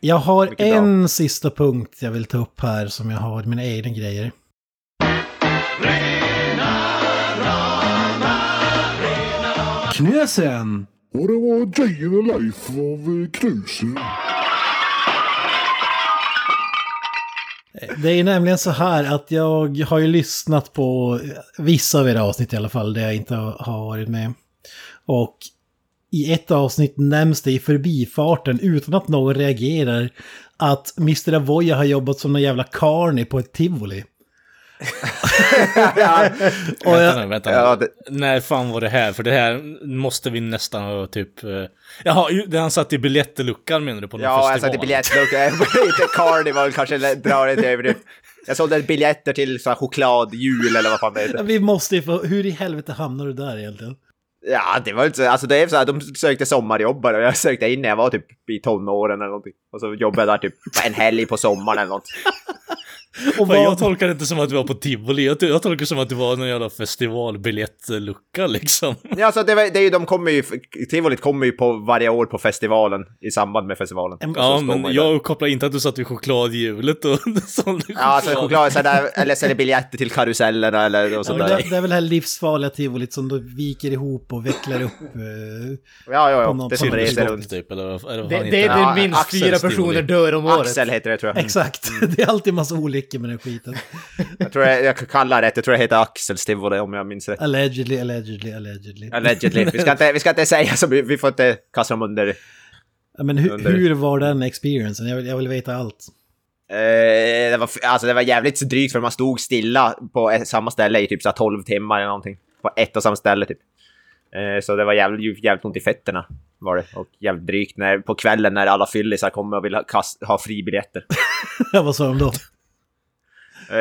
[SPEAKER 4] Jag har
[SPEAKER 2] Oh, Mycket bra.
[SPEAKER 4] en sista punkt jag vill ta upp här som jag har mina egna grejer. Knösen!
[SPEAKER 5] Och det var Day in the Life av Knutsen.
[SPEAKER 4] Det är nämligen så här att jag har ju lyssnat på vissa av era avsnitt i alla fall, där jag inte har varit med. Och i ett avsnitt nämns det i förbifarten, utan att någon reagerar, att Mr. Avoya har jobbat som någon jävla carny på ett tivoli.
[SPEAKER 2] ja,
[SPEAKER 4] Och
[SPEAKER 3] vänta
[SPEAKER 4] jag,
[SPEAKER 3] nu, vänta nu.
[SPEAKER 2] ja, det,
[SPEAKER 3] När fan var det här? För det här måste vi nästan ha typ... eh, Jaha, ju- det han satt i biljettluckan menar du på någon
[SPEAKER 2] ja jag
[SPEAKER 3] festival?
[SPEAKER 2] satte biljetter. Inte carnival, kanske eller drar det till överdrift. Jag sålde biljetter till så här, chokladjul eller vad fan det heter.
[SPEAKER 4] vi måste ju få, hur i helvete hamnar du där egentligen?
[SPEAKER 2] Ja, det var inte så... Alltså det är så här, de sökte sommarjobbare och jag sökte in när jag var typ i tonåren eller någonting. Och så jobbade jag där typ en helg på sommaren eller något.
[SPEAKER 4] Och
[SPEAKER 3] Fan, jag
[SPEAKER 4] vad,
[SPEAKER 3] tolkar det inte som att du var på tivoli. Jag, jag tolkar det som att du var någon jävla festivalbiljettlucka liksom.
[SPEAKER 2] Ja, alltså det, var, det är ju, de kommer ju... Tivolit kommer ju på varje år på festivalen i samband med festivalen.
[SPEAKER 4] Ja,
[SPEAKER 2] Och så
[SPEAKER 3] Ja,
[SPEAKER 2] står man
[SPEAKER 3] men
[SPEAKER 2] ju där.
[SPEAKER 3] jag kopplar inte att du satt vid chokladhjulet och sålde
[SPEAKER 2] Ja, alltså choklad, så där, eller säljer biljetter till karusellerna eller och
[SPEAKER 4] ja,
[SPEAKER 2] sånt
[SPEAKER 4] men det,
[SPEAKER 2] där.
[SPEAKER 4] det är väl det här livsfarliga tivolit som då viker ihop och vecklar upp. eh,
[SPEAKER 2] Ja, ja,
[SPEAKER 4] På
[SPEAKER 2] ja.
[SPEAKER 4] någon
[SPEAKER 2] Det som reser
[SPEAKER 3] Cirkusgolf
[SPEAKER 2] runt.
[SPEAKER 3] typ, eller vad eller vad
[SPEAKER 1] Det,
[SPEAKER 3] fan
[SPEAKER 1] det är
[SPEAKER 3] heter
[SPEAKER 2] Ja,
[SPEAKER 1] det minst
[SPEAKER 2] Axels
[SPEAKER 1] fyra
[SPEAKER 3] tivoli.
[SPEAKER 1] personer dör om året.
[SPEAKER 2] Axel heter det tror jag.
[SPEAKER 4] Exakt, det är alltid en massa olyckor med den skiten.
[SPEAKER 2] Jag tror jag, jag kallar det rätt. Jag tror det heter Axels tivoli om jag minns rätt.
[SPEAKER 4] Allegedly, allegedly, allegedly.
[SPEAKER 2] Allegedly. Vi ska inte, vi ska inte säga så vi, vi får inte kasta dem under
[SPEAKER 4] Ja, Men hur,
[SPEAKER 2] Under-
[SPEAKER 4] hur var den experiencen? Jag vill, jag vill veta allt.
[SPEAKER 2] Eh, det, var, f- alltså, det var jävligt så drygt för man stod stilla på ett, samma ställe i typ så här 12 timmar eller någonting. På ett och samma ställe typ. Eh, så det var jävligt, jävligt ont i fötterna. Var det. Och jävligt drygt när, på kvällen när alla fyllisar kommer och vill ha, kast, ha fribiljetter.
[SPEAKER 4] Vad sa de då?
[SPEAKER 2] Eh,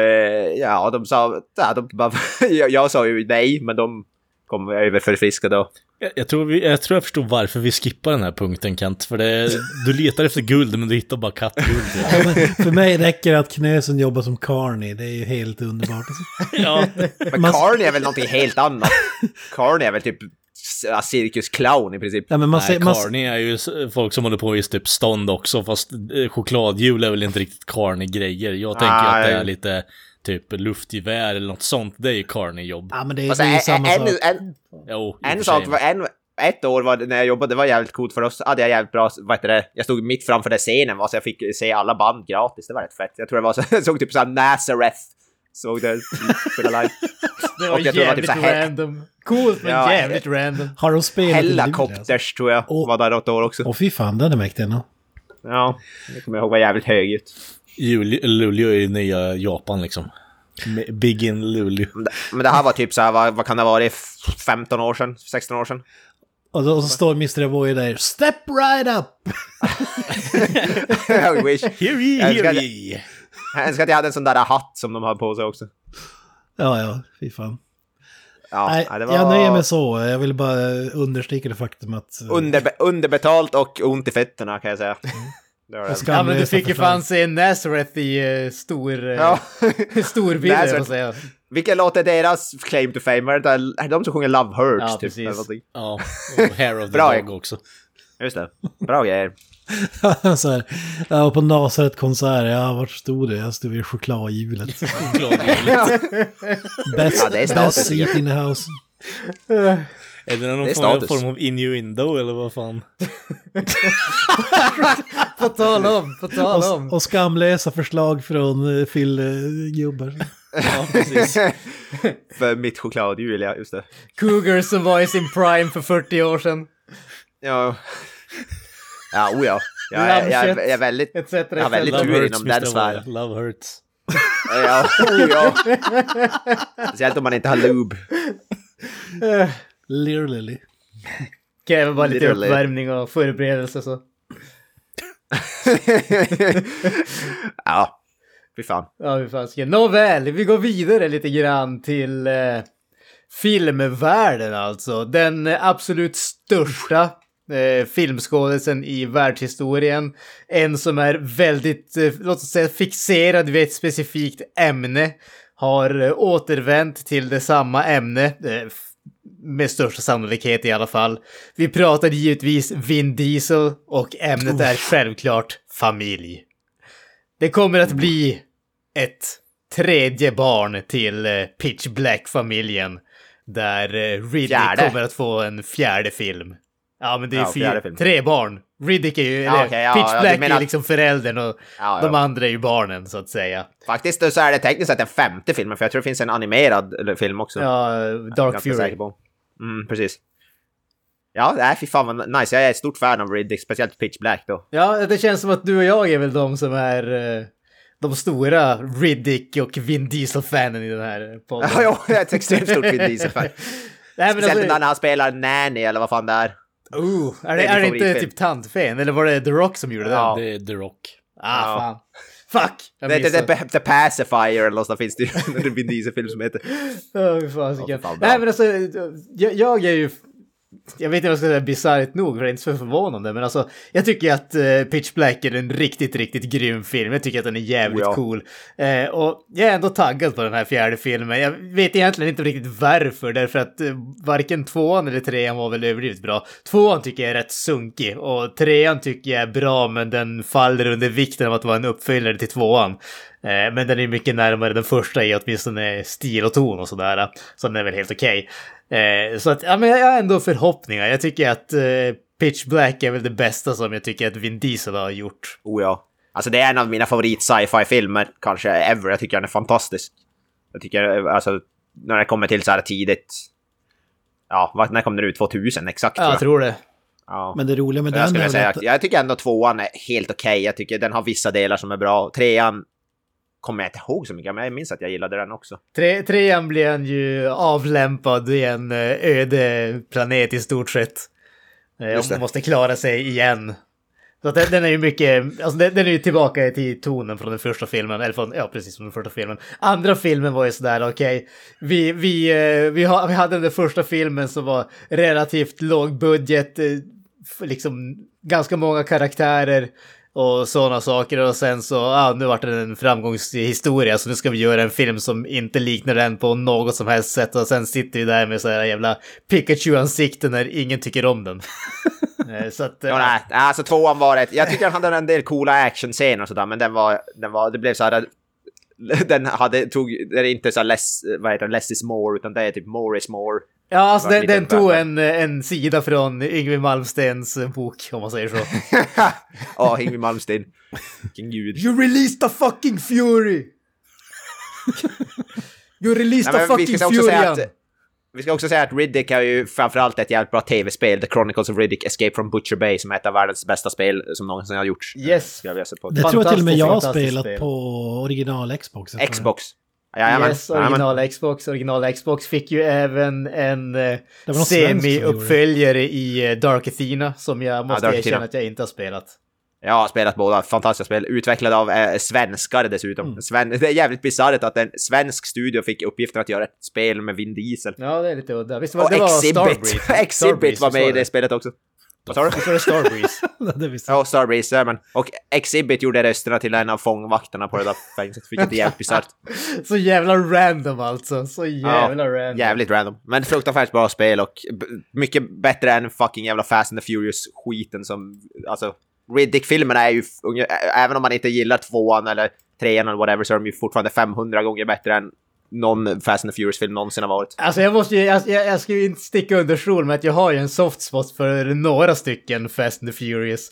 [SPEAKER 2] ja, de sa... Ja, de bara, jag, jag sa ju nej, men de kom över förfriskade. och-
[SPEAKER 3] Jag, jag, tror vi, jag tror jag förstår varför vi skippar den här punkten Kent. För det, du letar efter guld men du hittar bara kattguld.
[SPEAKER 4] Ja, men För mig räcker det att Knösen jobbar som carny. Det är ju helt underbart.
[SPEAKER 3] ja.
[SPEAKER 2] Men
[SPEAKER 4] Man-
[SPEAKER 2] Carney är väl någonting helt annat? Carney är väl typ s- ja, cirkusclown i princip.
[SPEAKER 4] Ja, men man,
[SPEAKER 3] Nej,
[SPEAKER 4] ser, man,
[SPEAKER 3] carny är ju s- folk som håller på i typ stånd också, fast eh, chokladhjul är väl inte riktigt carny-grejer. Jag tänker ju att det är
[SPEAKER 2] Nej.
[SPEAKER 3] lite typ luftgevär eller något sånt, det är ju carny-jobb.
[SPEAKER 4] ja, men det, är-
[SPEAKER 2] Alltså,
[SPEAKER 4] det är ju
[SPEAKER 2] en,
[SPEAKER 4] samma sak.
[SPEAKER 2] en, en,
[SPEAKER 3] Jo, i och för
[SPEAKER 2] En sak,
[SPEAKER 3] sig.
[SPEAKER 2] var, en, ett år var det, när jag jobbade, det var jävligt coolt för oss hade jag jävligt bra, vad heter det, jag stod mitt framför den scenen va, så jag fick se alla band gratis, det var rätt fett. Jag tror det var så, jag såg typ såhär Nazareth, såg det spela live.
[SPEAKER 1] Det var
[SPEAKER 2] Och jag tror det var typ
[SPEAKER 1] jävligt
[SPEAKER 2] så här-
[SPEAKER 1] random. Coolt men
[SPEAKER 2] Ja,
[SPEAKER 1] jävligt random.
[SPEAKER 4] Har de spelat i Luleå? alltså?
[SPEAKER 2] Hellacopters tror jag
[SPEAKER 4] Åh.
[SPEAKER 2] var där något år också.
[SPEAKER 4] Åh fy fan, den är mäktig ändå.
[SPEAKER 2] Ja, det kommer jag ihåg var jävligt högljutt.
[SPEAKER 3] Juli- Luleå är ju nya Japan liksom. Me- Big in Luleå.
[SPEAKER 2] Men det- Men det här var typ såhär, vad, vad kan det ha varit, f- 15 år sedan, 16 år sedan?
[SPEAKER 4] Och, då, och så står Mr. Avoy där. Step right up!
[SPEAKER 2] I wish.
[SPEAKER 3] Hear ye,
[SPEAKER 2] Jag älskar
[SPEAKER 3] hear
[SPEAKER 2] det.
[SPEAKER 3] ye!
[SPEAKER 2] Jag önskar att jag hade en sån där hatt som de har på sig också.
[SPEAKER 4] Ja, ja, fy fan.
[SPEAKER 2] Ja,
[SPEAKER 4] Nej,
[SPEAKER 2] ja, det
[SPEAKER 4] Jag
[SPEAKER 2] var-
[SPEAKER 4] nöjer mig så. Jag vill bara understryka det faktum att... eh,
[SPEAKER 2] Underbe underbetalt och ont i fötterna kan jag säga. Det var det.
[SPEAKER 4] jag ska
[SPEAKER 1] Ja men du
[SPEAKER 4] använda
[SPEAKER 1] fick ju
[SPEAKER 4] förslag.
[SPEAKER 1] fan se Nazareth i eh, stor... eh,
[SPEAKER 2] Ja.
[SPEAKER 1] Storbilder,
[SPEAKER 2] Nazareth.
[SPEAKER 1] höll jag på att säga.
[SPEAKER 2] Vilken låt är deras claim to fame? Är det där- är de som sjunger Love Hurts?
[SPEAKER 1] Ja,
[SPEAKER 2] typ,
[SPEAKER 1] precis.
[SPEAKER 2] eller någonting?
[SPEAKER 3] Ja, och Hair of the
[SPEAKER 2] Bra.
[SPEAKER 3] Dog också.
[SPEAKER 2] Just det. Bra grejer.
[SPEAKER 4] så här, jag var på Nasaret-konsert, ja vart stod Alltså, du? Jag stod vid chokladhjulet.
[SPEAKER 3] Chokladhjul.
[SPEAKER 4] Best,
[SPEAKER 2] Ja, det är
[SPEAKER 4] best
[SPEAKER 2] status.
[SPEAKER 4] seat in the house.
[SPEAKER 3] Är det någon
[SPEAKER 2] Det är
[SPEAKER 3] form,
[SPEAKER 2] status.
[SPEAKER 3] form av innuendo eller vad fan?
[SPEAKER 1] På tal om, på tal om.
[SPEAKER 4] Och, och skamlösa förslag från eh, Phil-gubbar.
[SPEAKER 3] Ja, precis.
[SPEAKER 2] För mitt chokladhjul, ja. Just det.
[SPEAKER 1] Cougar som var i sin prime för 40 år sedan.
[SPEAKER 2] Ja, ja oh ja. Jag, jag, jag, jag är väldigt...
[SPEAKER 1] Etc.
[SPEAKER 2] Ja, väldigt
[SPEAKER 1] etc.
[SPEAKER 2] tur.
[SPEAKER 3] Love hurts,
[SPEAKER 2] inom den
[SPEAKER 3] Mr.
[SPEAKER 2] sfären.
[SPEAKER 3] Wire. Love hurts.
[SPEAKER 2] Ja, oh ja. Speciellt om man inte har lube.
[SPEAKER 4] Literally.
[SPEAKER 1] Kräver bara lite
[SPEAKER 2] Literally.
[SPEAKER 1] uppvärmning och förberedelse så.
[SPEAKER 2] ja, fy fan.
[SPEAKER 1] Ja, hur fan ska jag- Nåväl, vi går vidare lite grann till eh, filmvärlden alltså. Den eh, absolut största eh, filmskådisen i världshistorien. En som är väldigt, eh, låt oss säga fixerad vid ett specifikt ämne. Har eh, återvänt till det samma ämne. Eh, f- med största sannolikhet i alla fall. Vi pratar givetvis Vin Diesel och ämnet är självklart familj. Det kommer att bli ett tredje barn till eh, Pitch Black-familjen. Där eh, Riddick
[SPEAKER 2] Fjärde.
[SPEAKER 1] kommer att få en fjärde film. Ja, men det är
[SPEAKER 2] Ja,
[SPEAKER 1] fyra,
[SPEAKER 2] fjärde film.
[SPEAKER 1] tre barn. Riddick är ju, eller
[SPEAKER 2] okej, ja,
[SPEAKER 1] Pitch
[SPEAKER 2] ja, du
[SPEAKER 1] Black
[SPEAKER 2] menar
[SPEAKER 1] är
[SPEAKER 2] att-
[SPEAKER 1] liksom föräldern och
[SPEAKER 2] Ja,
[SPEAKER 1] de
[SPEAKER 2] ja.
[SPEAKER 1] andra är ju barnen så att säga.
[SPEAKER 2] Faktiskt så är det tekniskt sett den femte filmen, för jag tror det finns en animerad eller, film också.
[SPEAKER 1] Ja, Dark
[SPEAKER 2] ganska
[SPEAKER 1] Fury.
[SPEAKER 2] säker på. Mm, precis. Ja, nej, fy fan vad nice. Jag är ett stort fan av Riddick, speciellt Pitch Black då.
[SPEAKER 1] Ja, det känns som att du och jag är väl de som är eh, de stora Riddick och Vin Diesel-fanen i den här podden.
[SPEAKER 2] Ja, jo, jag är ett extremt stort Vin Diesel-fan.
[SPEAKER 1] Nej, men
[SPEAKER 2] Speciellt den där
[SPEAKER 1] alltså,
[SPEAKER 2] när han spelar Nanny eller vad fan det är.
[SPEAKER 1] oh, är
[SPEAKER 2] Det
[SPEAKER 1] det,
[SPEAKER 2] är
[SPEAKER 1] är
[SPEAKER 2] min
[SPEAKER 1] det inte
[SPEAKER 2] favoritfilm.
[SPEAKER 1] typ Tantfen? Eller var det The Rock som gjorde
[SPEAKER 2] Ja.
[SPEAKER 1] den?
[SPEAKER 3] Det är The Rock.
[SPEAKER 1] Ah,
[SPEAKER 2] Ja.
[SPEAKER 1] fan. Fuck! Jag
[SPEAKER 2] Det, det,
[SPEAKER 1] missade.
[SPEAKER 2] det, the Pacifier eller något sånt finns det ju en Vin Diesel-film som heter.
[SPEAKER 1] Ja, fy fan, så
[SPEAKER 2] Ja,
[SPEAKER 1] kul.
[SPEAKER 2] fan, bra.
[SPEAKER 1] Nej men alltså, jag, jag är ju... Jag vet inte vad jag ska säga bisarrt nog, för det är inte så förvånande, men alltså jag tycker att eh, Pitch Black är en riktigt, riktigt grym film. Jag tycker att den är jävligt
[SPEAKER 2] Oh, ja.
[SPEAKER 1] cool. Eh, och jag är ändå taggad på den här fjärde filmen. Jag vet egentligen inte riktigt varför, därför att eh, varken tvåan eller trean var väl överdrivet bra. Tvåan tycker jag är rätt sunkig och trean tycker jag är bra, men den faller under vikten av att vara en uppföljare till tvåan. Eh, Men den är mycket närmare den första i åtminstone stil och ton och sådär. eh, Så den är väl helt okej. Eh, Så att, ja men jag har ändå förhoppningar. Jag tycker att eh, Pitch Black är väl det bästa som jag tycker att Vin Diesel har gjort.
[SPEAKER 2] Oh ja. Alltså det är en av mina favorit sci-fi-filmer, kanske ever. Jag tycker den är fantastisk. Jag tycker, alltså, när det kommer till så här tidigt... Ja, vad- när kom den ut? 2000 exakt?
[SPEAKER 1] Ja, jag tror det.
[SPEAKER 2] Ja.
[SPEAKER 4] Men det roliga med
[SPEAKER 2] jag,
[SPEAKER 4] den
[SPEAKER 2] skulle
[SPEAKER 4] är väl
[SPEAKER 2] säga,
[SPEAKER 4] att...
[SPEAKER 2] att jag tycker ändå tvåan är helt okej. Jag tycker den har vissa delar som är bra. Trean kommer jag inte ihåg så mycket, men jag minns att jag gillade den också.
[SPEAKER 1] Tre, trean blev han ju avlämpad i en eh, öde planet i stort sett. Eh,
[SPEAKER 2] Just
[SPEAKER 1] Och
[SPEAKER 2] det.
[SPEAKER 1] måste klara sig igen. Så att den, den är ju mycket, alltså den, den är ju tillbaka till tonen från den första filmen, eller från, ja precis från den första filmen. Andra filmen var ju sådär, okej, vi, vi, eh, vi, har, vi hade den där första filmen som var relativt låg budget, eh, f- liksom ganska många karaktärer och sådana saker och sen så, ja nu vart det en framgångshistoria så nu ska vi göra en film som inte liknar den på något som helst sätt och sen sitter vi där med så här jävla Pikachu-ansikten när ingen tycker om den. Eh, så att... eh,
[SPEAKER 2] Ja, nej, alltså tvåan var ett... Jag tycker den hade en del coola actionscener och sådär, men den var... Den var det blev så här... Den hade, tog, det är inte så här less, vad heter det, less is more, utan det är typ more is more.
[SPEAKER 1] Ja, alltså
[SPEAKER 2] Det var
[SPEAKER 1] den, den
[SPEAKER 2] lite
[SPEAKER 1] tog
[SPEAKER 2] bra.
[SPEAKER 1] en, eh, en sida från Yngwie Malmsteens bok, om man säger så.
[SPEAKER 2] Ja, Yngwie Malmsteen. Vilken gud.
[SPEAKER 1] You released the fucking fury! You released
[SPEAKER 2] Nej,
[SPEAKER 1] the
[SPEAKER 2] men vi
[SPEAKER 1] fucking
[SPEAKER 2] ska också
[SPEAKER 1] fury!
[SPEAKER 2] säga att, vi ska också säga att Riddick är ju framförallt ett jävligt bra tv-spel, The Chronicles of Riddick Escape from Butcher Bay, som är ett av världens bästa spel som någonsin har gjorts.
[SPEAKER 1] Yes.
[SPEAKER 2] Skulle jag vilja säga på.
[SPEAKER 4] Det tror jag till och med jag har
[SPEAKER 1] Fantastiskt
[SPEAKER 4] spelat
[SPEAKER 1] spel.
[SPEAKER 4] på original Xbox. jag tror jag.
[SPEAKER 2] Xbox. Jajamän.
[SPEAKER 1] yes,
[SPEAKER 2] jajamän.
[SPEAKER 1] original Xbox. Original Xbox fick ju även en eh,
[SPEAKER 4] var någon svensk som
[SPEAKER 1] semi-uppföljare i eh, Dark Athena som jag måste
[SPEAKER 2] Dark
[SPEAKER 1] erkänna
[SPEAKER 2] Athena.
[SPEAKER 1] att jag inte har spelat.
[SPEAKER 2] Jag har spelat båda, fantastiska spel. Utvecklade av eh, svenskar dessutom.
[SPEAKER 1] Mm.
[SPEAKER 2] Sven det är jävligt bisarrt att en svensk studio fick uppgiften att göra ett spel med Vin Diesel.
[SPEAKER 1] Ja, det är lite udda. Visst var
[SPEAKER 2] Och
[SPEAKER 1] det var
[SPEAKER 2] Exhibit!
[SPEAKER 1] Starbreeze?
[SPEAKER 2] Exhibit var med i det spelet också. Vad sa du?
[SPEAKER 1] Visst var det Starbreeze?
[SPEAKER 4] det visste jag.
[SPEAKER 2] Ja, Starbreeze, ja, men. Och Exhibit gjorde rösterna till en av fångvakterna på det där fängelset, vilket är jävligt bisarrt.
[SPEAKER 1] Så jävla random alltså. Så jävla random.
[SPEAKER 2] Jävligt random. Men fruktansvärt bra spel och b- mycket bättre än fucking jävla Fast and the Furious-skiten som... Alltså, Riddick-filmerna är ju... f- unge- ä- Även om man inte gillar tvåan eller trean eller whatever så är de ju fortfarande 500 gånger bättre än någon Fast and the Furious-film någonsin har varit.
[SPEAKER 1] Alltså jag måste ju, jag, jag, jag ska ju inte sticka under stol med att jag har ju en soft spot för några stycken Fast and the Furious.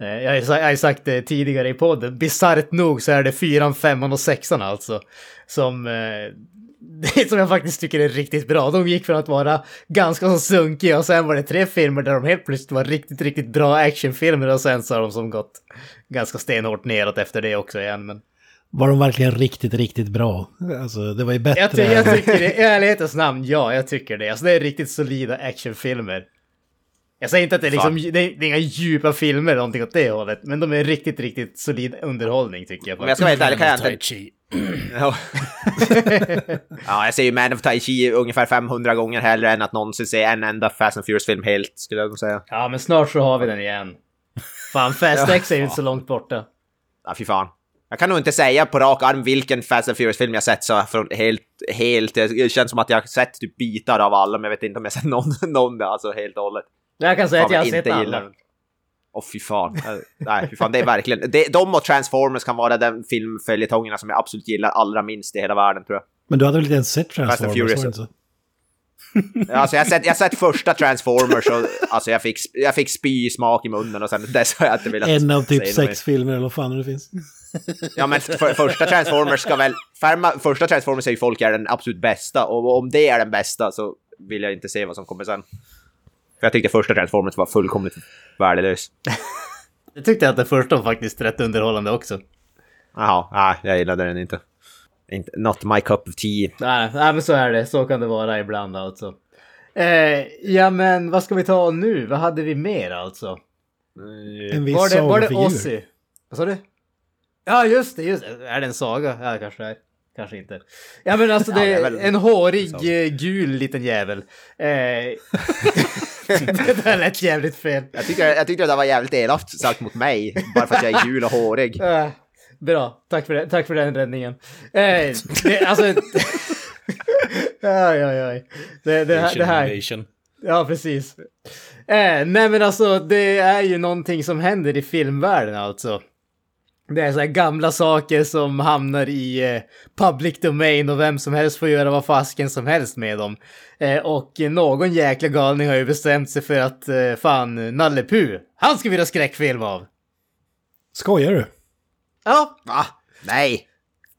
[SPEAKER 1] Eh, Jag har, ju sa- jag har ju sagt det tidigare i podden, bisarrt nog så är det fyran, femman och sexan alltså. Som, eh, det som jag faktiskt tycker är riktigt bra. De gick från att vara ganska så sunkiga och sen var det tre filmer där de helt plötsligt var riktigt, riktigt bra actionfilmer och sen så har de som gått ganska stenhårt neråt efter det också igen. Men...
[SPEAKER 4] Var de verkligen riktigt, riktigt bra? Alltså, det var ju bättre.
[SPEAKER 1] Jag, ty jag tycker det, i ärlighetens namn, ja, jag tycker det. Alltså det är riktigt solida actionfilmer. Jag säger inte att det är liksom, det är, det är inga djupa filmer eller någonting åt det hållet, men de är riktigt, riktigt solid underhållning tycker jag.
[SPEAKER 2] Om jag ska vara helt ärlig kan jag
[SPEAKER 3] Tai
[SPEAKER 2] inte...
[SPEAKER 3] Chi.
[SPEAKER 2] Ja. ja, jag ser ju Man of Tai Chi ungefär 500 gånger hellre än att någonsin se en enda Fast and the Furious-film helt, skulle jag nog säga.
[SPEAKER 1] Ja, men snart så har vi den igen. Fan, Fast X är ju inte så långt borta.
[SPEAKER 2] Ja, fy fan. Jag kan nog inte säga på rak arm vilken Fast and Furious-film jag sett så från helt, helt... Det känns som att jag har sett typ bitar av alla, men jag vet inte om jag sett någon, någon alltså helt och hållet.
[SPEAKER 1] Jag kan säga
[SPEAKER 2] Fan,
[SPEAKER 1] att jag har
[SPEAKER 2] inte
[SPEAKER 1] sett alla.
[SPEAKER 2] gillar den. Åh fy fan. Eh, Nej, fy fan, det är verkligen... Det, de och Transformers kan vara den filmföljetongerna som jag absolut gillar allra minst i hela världen, tror jag.
[SPEAKER 4] Men du hade väl inte ens sett
[SPEAKER 2] and
[SPEAKER 4] Transformers?
[SPEAKER 2] Furious.
[SPEAKER 4] var det inte så?
[SPEAKER 2] Alltså jag har sett, jag har sett första Transformers och alltså, jag, fick, jag fick spy i smak i munnen och sen dess har jag inte velat...
[SPEAKER 4] En av typ
[SPEAKER 2] säga något mer.
[SPEAKER 4] sex filmer eller vad fan det finns.
[SPEAKER 2] Ja men för, första Transformers ska väl... Färma, första Transformers säger folk är den absolut bästa och om det är den bästa så vill jag inte se vad som kommer sen. För jag tyckte första Transformers var fullkomligt värdelös.
[SPEAKER 1] Jag tyckte att den första var faktiskt rätt underhållande också.
[SPEAKER 2] Jaha, nej jag gillade den inte. inte. Not my cup of tea.
[SPEAKER 1] Nej, nej, men så är det. Så kan det vara ibland alltså. Eh, ja, men vad ska vi ta nu? Vad hade vi mer alltså?
[SPEAKER 4] En viss
[SPEAKER 1] Eh, Var det, var det
[SPEAKER 4] sagofigur.
[SPEAKER 1] Ozzy? Vad sa du? Ja, just det, just det. Är det en saga? Ja, det kanske det är. Kanske inte. Ja, men alltså det
[SPEAKER 2] Ja, det är
[SPEAKER 1] är
[SPEAKER 2] väl
[SPEAKER 1] en hårig eh, gul liten jävel. Eh, det där lät jävligt fel.
[SPEAKER 2] Jag tyckte, jag tyckte det var jävligt elakt sagt mot mig, bara för att jag är gul och hårig.
[SPEAKER 1] Eh, bra, tack för, det, tack för den räddningen. Eh, det, alltså... aj, aj, aj. Det, det, här- det här...
[SPEAKER 3] Asian.
[SPEAKER 1] Ja, precis. Eh, nej, men alltså det är ju någonting som händer i filmvärlden alltså. Det är så här gamla saker som hamnar i eh, public domain och vem som helst får göra vad fasken som helst med dem. Eh, och någon jäkla galning har ju bestämt sig för att eh, fan, Nalle Puh, han ska vi göra skräckfilm av.
[SPEAKER 4] Skojar du?
[SPEAKER 1] Ja,
[SPEAKER 2] Va? Nej!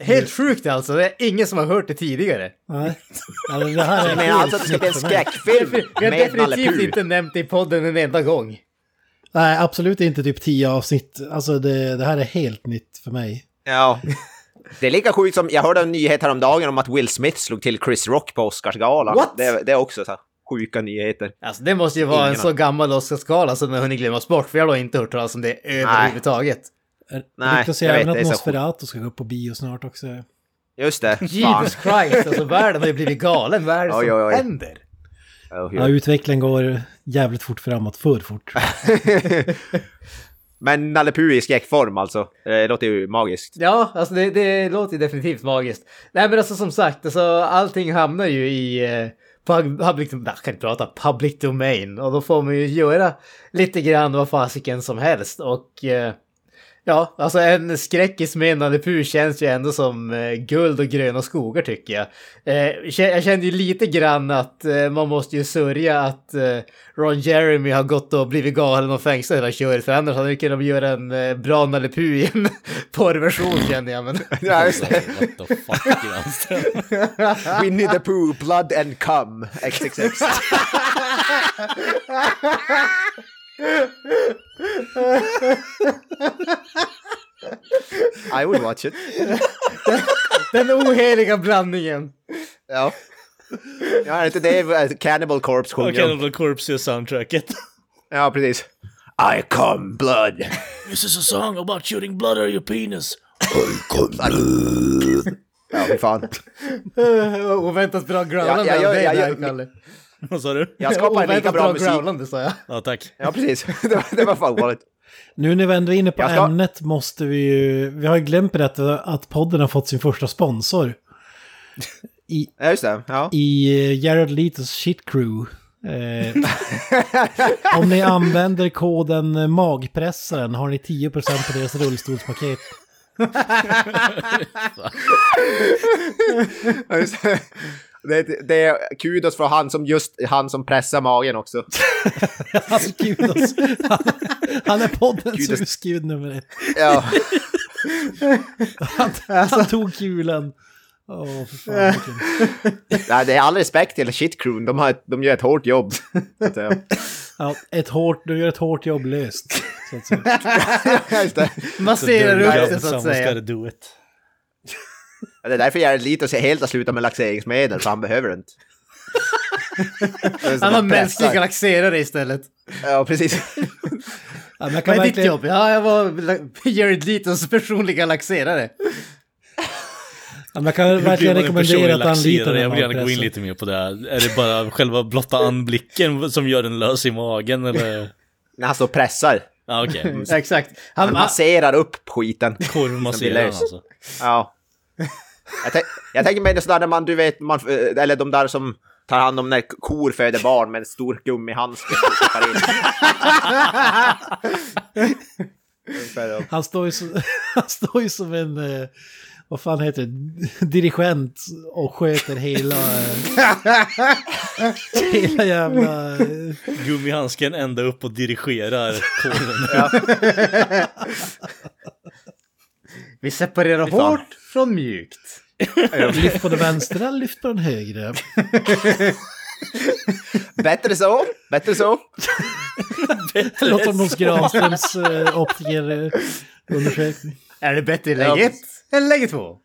[SPEAKER 1] helt
[SPEAKER 2] Mm.
[SPEAKER 1] sjukt alltså. Det är ingen som har hört det tidigare.
[SPEAKER 4] Nej. Alltså, det här är
[SPEAKER 2] Jag menar
[SPEAKER 4] helt
[SPEAKER 2] alltså att det ska bli en
[SPEAKER 4] nytt för mig.
[SPEAKER 2] skräckfilm
[SPEAKER 1] Vi har
[SPEAKER 2] med Nalle
[SPEAKER 1] definitivt
[SPEAKER 2] Puh.
[SPEAKER 1] inte nämnt det i podden en enda gång.
[SPEAKER 4] Nej, absolut inte typ tio avsnitt. Alltså det, det här är helt nytt för mig.
[SPEAKER 2] Ja. Det är lika sjukt som, jag hörde en nyhet häromdagen om att Will Smith slog till Chris Rock på Oscarsgalan.
[SPEAKER 1] What?
[SPEAKER 2] Det, det är också så här, sjuka nyheter.
[SPEAKER 1] Alltså det måste ju vara
[SPEAKER 2] Ingen
[SPEAKER 1] en så gammal Oscarsgala som har hunnit glömmas bort, för jag har inte hört talas om det överhuvudtaget.
[SPEAKER 2] Nej,
[SPEAKER 4] Nej, jag
[SPEAKER 2] jag vet,
[SPEAKER 4] även
[SPEAKER 2] det är
[SPEAKER 4] att
[SPEAKER 2] så
[SPEAKER 4] Nosferatu ska gå upp på bio snart också.
[SPEAKER 2] Just det. Fan.
[SPEAKER 1] Jesus Christ, alltså världen har ju blivit galen. Vad är det
[SPEAKER 2] Oj,
[SPEAKER 1] som
[SPEAKER 2] oj, oj.
[SPEAKER 1] händer?
[SPEAKER 2] Oh,
[SPEAKER 4] Ja, utvecklingen går jävligt fort framåt, för fort.
[SPEAKER 2] Men Nalle Puh i skräckform alltså. Det låter ju magiskt.
[SPEAKER 1] Ja, alltså det, det låter ju definitivt magiskt. Nej men alltså som sagt, alltså, allting hamnar ju i eh, pub- public, nej, jag kan inte prata, public domain. Och då får man ju göra lite grann vad fasiken som helst. Och eh, ja, alltså en skräckis med Nalle Puh känns ju ändå som eh, guld och gröna skogar tycker jag. Eh, kä- jag kände ju lite grann att eh, man måste ju sörja att eh, Ron Jeremy har gått och blivit galen och fängslad hela köret. För annars hade vi kunnat göra en eh, bra Nalle Puh i en porrversion känner jag. Men...
[SPEAKER 2] Ja, just det.
[SPEAKER 3] Alltså, What the fuck Granström?
[SPEAKER 2] Winnie the Pooh, Blood and Cum, XXX. I would watch it.
[SPEAKER 1] Den oheliga blandningen.
[SPEAKER 2] Ja. Ja, är det inte det eh, Cannibal Corpse
[SPEAKER 3] Och
[SPEAKER 2] sjunger om?
[SPEAKER 3] Cannibal Corpse gör soundtracket.
[SPEAKER 2] Ja, precis. I come blood.
[SPEAKER 3] This is a song about shooting blood out of your penis.
[SPEAKER 2] Ja, fy fan.
[SPEAKER 1] Eh, Oväntat bra growlande
[SPEAKER 2] Ja, ja,
[SPEAKER 1] av
[SPEAKER 2] ja,
[SPEAKER 1] dig
[SPEAKER 2] ja, ja.
[SPEAKER 1] där, Kalle.
[SPEAKER 3] Vad sa du?
[SPEAKER 2] Jag skapar lika
[SPEAKER 1] Oväntat
[SPEAKER 2] bra
[SPEAKER 1] bra
[SPEAKER 2] musik.
[SPEAKER 1] growlande sa jag.
[SPEAKER 3] Ja, tack.
[SPEAKER 2] Ja, precis. Det var, det var fan ovanligt.
[SPEAKER 4] Nu när vi ändå är inne på
[SPEAKER 2] Jag ska-
[SPEAKER 4] ämnet måste vi ju... Vi har ju glömt berätta att podden har fått sin första sponsor. I,
[SPEAKER 2] Ja, just det. Ja.
[SPEAKER 4] i eh, Jared Letos shit crew. Eh, om ni använder koden magpressaren har ni 10% på deras rullstolspaket.
[SPEAKER 2] Ja, just det. Det, det är kudos för han som just han som pressar magen också.
[SPEAKER 4] Alltså kudos. Han, han är poddens
[SPEAKER 2] Kudos.
[SPEAKER 4] husgud nummer ett.
[SPEAKER 2] Ja.
[SPEAKER 4] Han,
[SPEAKER 3] Alltså.
[SPEAKER 4] han tog kulan. Åh, för fan vilken...
[SPEAKER 2] Nej, det är all respekt till shit crew. De, har, ett- de gör ett hårt jobb. Så att säga.
[SPEAKER 4] Ja, ett hårt, du gör ett hårt jobb löst. Så att säga.
[SPEAKER 2] Ja, just det.
[SPEAKER 1] Masserar
[SPEAKER 3] Done
[SPEAKER 1] upp
[SPEAKER 3] job,
[SPEAKER 1] det så att
[SPEAKER 3] someone's
[SPEAKER 1] säga.
[SPEAKER 3] gotta do it.
[SPEAKER 2] Ja, Det är därför Jared Leto ser helt har slutat med laxeringsmedel, för han behöver det inte. Det är som
[SPEAKER 1] Han har
[SPEAKER 2] att pressa.
[SPEAKER 1] mänsklig galaxerare istället.
[SPEAKER 2] Ja, precis.
[SPEAKER 4] Ja, men jag kan
[SPEAKER 1] Vad är ditt
[SPEAKER 4] verkligen,
[SPEAKER 1] jobb? Ja, jag var la- Jared Letos personliga
[SPEAKER 2] Mm.
[SPEAKER 1] laxerare.
[SPEAKER 4] ja, men jag kan verkligen rekommendera att anlita den
[SPEAKER 3] Jag vill gärna gå in
[SPEAKER 4] magpressen.
[SPEAKER 3] lite mer på det här. Är det bara själva blotta anblicken som gör den lös i magen eller?
[SPEAKER 2] När han står och pressar.
[SPEAKER 3] Ja, okej.
[SPEAKER 1] Mm.
[SPEAKER 3] Okay.
[SPEAKER 1] Exakt. Han,
[SPEAKER 2] Han masserar upp skiten.
[SPEAKER 3] Korvmasseraren
[SPEAKER 2] lös.
[SPEAKER 3] alltså.
[SPEAKER 2] Ja. Jag, tänk, jag tänker mig det sådär när man, du vet, man, eh, eller de där som tar hand om när kor föder barn med en stor gummihandske. som stoppar in. Ungefär då.
[SPEAKER 4] Han står ju som, han står ju som en, eh, vad fan heter det, dirigent och sköter hela, eh, hela jävla... eh,
[SPEAKER 3] Gummihandsken ända upp och dirigerar korven.
[SPEAKER 1] vi separerar
[SPEAKER 2] Fy fan.
[SPEAKER 1] hårt från mjukt.
[SPEAKER 4] Lyft på den vänstra, lyft på den högra.
[SPEAKER 2] Bättre så, bättre så.
[SPEAKER 4] Låt som hos Granströms eh, optikerundersökning.
[SPEAKER 1] Är det bättre i läge
[SPEAKER 2] Ja.
[SPEAKER 1] ett eller läge två?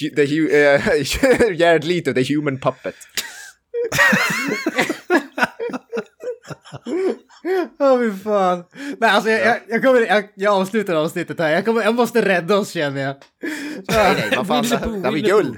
[SPEAKER 2] Hu- The hu- eh, Jared Leto, the human puppet.
[SPEAKER 1] Åh fy fan. Nej, alltså jag, jag, jag, kommer, jag, jag avslutar avsnittet här. Jag, kommer, jag måste rädda oss känner jag.
[SPEAKER 2] Nej, nej, vad fan,
[SPEAKER 4] Winnie the Pooh,
[SPEAKER 2] det var
[SPEAKER 4] Winnie the
[SPEAKER 2] guld.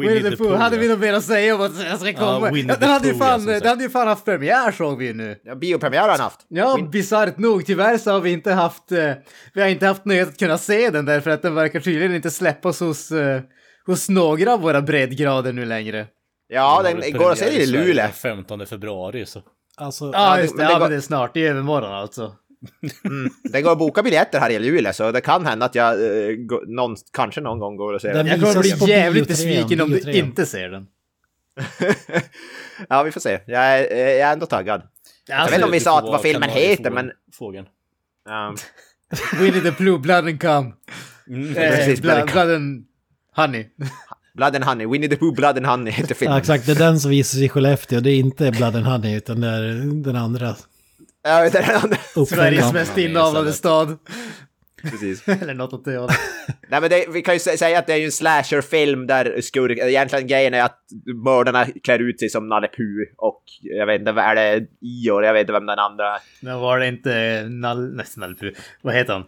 [SPEAKER 1] Winnie the Pooh, hade vi något mer att säga om att jag ska komma?
[SPEAKER 3] Winnie
[SPEAKER 1] Ja,
[SPEAKER 3] the
[SPEAKER 1] den, hade ju
[SPEAKER 3] Pooh, ja,
[SPEAKER 1] fan,
[SPEAKER 3] som
[SPEAKER 1] den
[SPEAKER 3] sagt.
[SPEAKER 1] hade ju fan haft premiär såg vi ju nu.
[SPEAKER 2] Ja, biopremiär har han haft.
[SPEAKER 1] Ja,
[SPEAKER 2] Win-
[SPEAKER 1] bisarrt nog. Tyvärr så har vi inte haft, eh, vi har inte haft nöjet att kunna se den därför att den verkar tydligen inte släppas hos, eh, hos några av våra breddgrader nu längre.
[SPEAKER 2] Ja, den går att se i Luleå.
[SPEAKER 3] 15 februari så.
[SPEAKER 4] Alltså,
[SPEAKER 1] Ja,
[SPEAKER 2] det-
[SPEAKER 1] just det.
[SPEAKER 2] men det
[SPEAKER 1] Ja,
[SPEAKER 2] går-
[SPEAKER 1] men det är snart. Det är övermorgon alltså.
[SPEAKER 2] Mm. Den går att boka biljetter här i Luleå, så det kan hända att jag eh, gå- någon, kanske någon gång går och ser den.
[SPEAKER 4] Den
[SPEAKER 1] Jag kommer
[SPEAKER 4] visas
[SPEAKER 1] bli
[SPEAKER 4] på
[SPEAKER 1] jävligt
[SPEAKER 4] Bio 3,
[SPEAKER 1] besviken om
[SPEAKER 4] Bio
[SPEAKER 1] du
[SPEAKER 4] 3.
[SPEAKER 1] inte ser den.
[SPEAKER 2] ja, vi får se. Jag är, eh, jag är ändå taggad.
[SPEAKER 1] Alltså,
[SPEAKER 2] vet inte om vi
[SPEAKER 3] Du
[SPEAKER 2] sa
[SPEAKER 3] får
[SPEAKER 2] att
[SPEAKER 3] vara
[SPEAKER 4] Typ
[SPEAKER 2] vad filmen
[SPEAKER 3] kanariefågeln-
[SPEAKER 2] heter, men-
[SPEAKER 3] Fågeln.
[SPEAKER 2] Ja,
[SPEAKER 1] Winnie the Blue, Blood and Come.
[SPEAKER 3] Mm.
[SPEAKER 1] Eh,
[SPEAKER 2] precis, Blood
[SPEAKER 1] blood,
[SPEAKER 2] and
[SPEAKER 1] blood and Honey.
[SPEAKER 2] Blood and Honey, Winnie the Pooh Blood and Honey heter filmen.
[SPEAKER 4] Ja, exakt, det är den som visas i Skellefteå. Det är inte Blood and Honey, utan det är den andra
[SPEAKER 2] Ja, det är den.
[SPEAKER 1] Sveriges
[SPEAKER 4] uppföljaren.
[SPEAKER 1] mest inavlade stad.
[SPEAKER 2] Precis.
[SPEAKER 1] Eller något åt det hållet.
[SPEAKER 2] Nej, men det, vi kan ju sä- säga att det är ju en slasherfilm där skurk... Egentligen grejen är att mördarna klär ut sig som Nalle Puh och jag vet inte, vad är det Ior? Jag vet inte vem den andra är.
[SPEAKER 1] Men var det inte Nall... Nej, Nall vad heter han?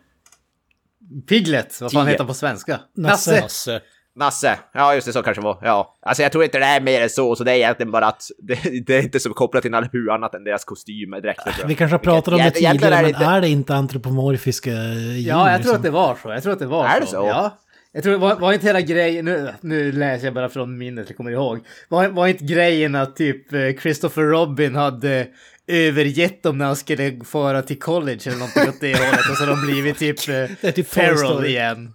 [SPEAKER 1] Piglet, vad fan
[SPEAKER 2] Tige.
[SPEAKER 1] heter han på svenska?
[SPEAKER 4] Nasse.
[SPEAKER 1] Nasse.
[SPEAKER 3] Nasse.
[SPEAKER 2] Nasse. Ja, just det, så kanske det var. Ja. Alltså jag tror inte det är mer än så, så det är egentligen bara att det, det är inte så kopplat till Nalle Puh annat än deras kostymer, dräkter. tror jag.
[SPEAKER 4] Ah, Vi kanske har pratat om det
[SPEAKER 2] Egent- egentligen
[SPEAKER 4] tidigare, men
[SPEAKER 2] inte-
[SPEAKER 4] är det inte antropomorfiska djur?
[SPEAKER 1] Ja, jag tror
[SPEAKER 4] som-
[SPEAKER 1] att det var så. Jag tror att det var
[SPEAKER 2] Är
[SPEAKER 1] så.
[SPEAKER 2] det så?
[SPEAKER 1] Ja. Jag tror, var, var inte hela grejen, nu, nu läser jag bara från minnet, jag kommer ihåg. Var, var inte grejen att typ eh, Christopher Robin hade övergett dem när han skulle fara till college eller någonting åt det hållet och så har de blivit typ, eh,
[SPEAKER 4] Det är typ Toy
[SPEAKER 1] feral
[SPEAKER 4] Story.
[SPEAKER 1] igen.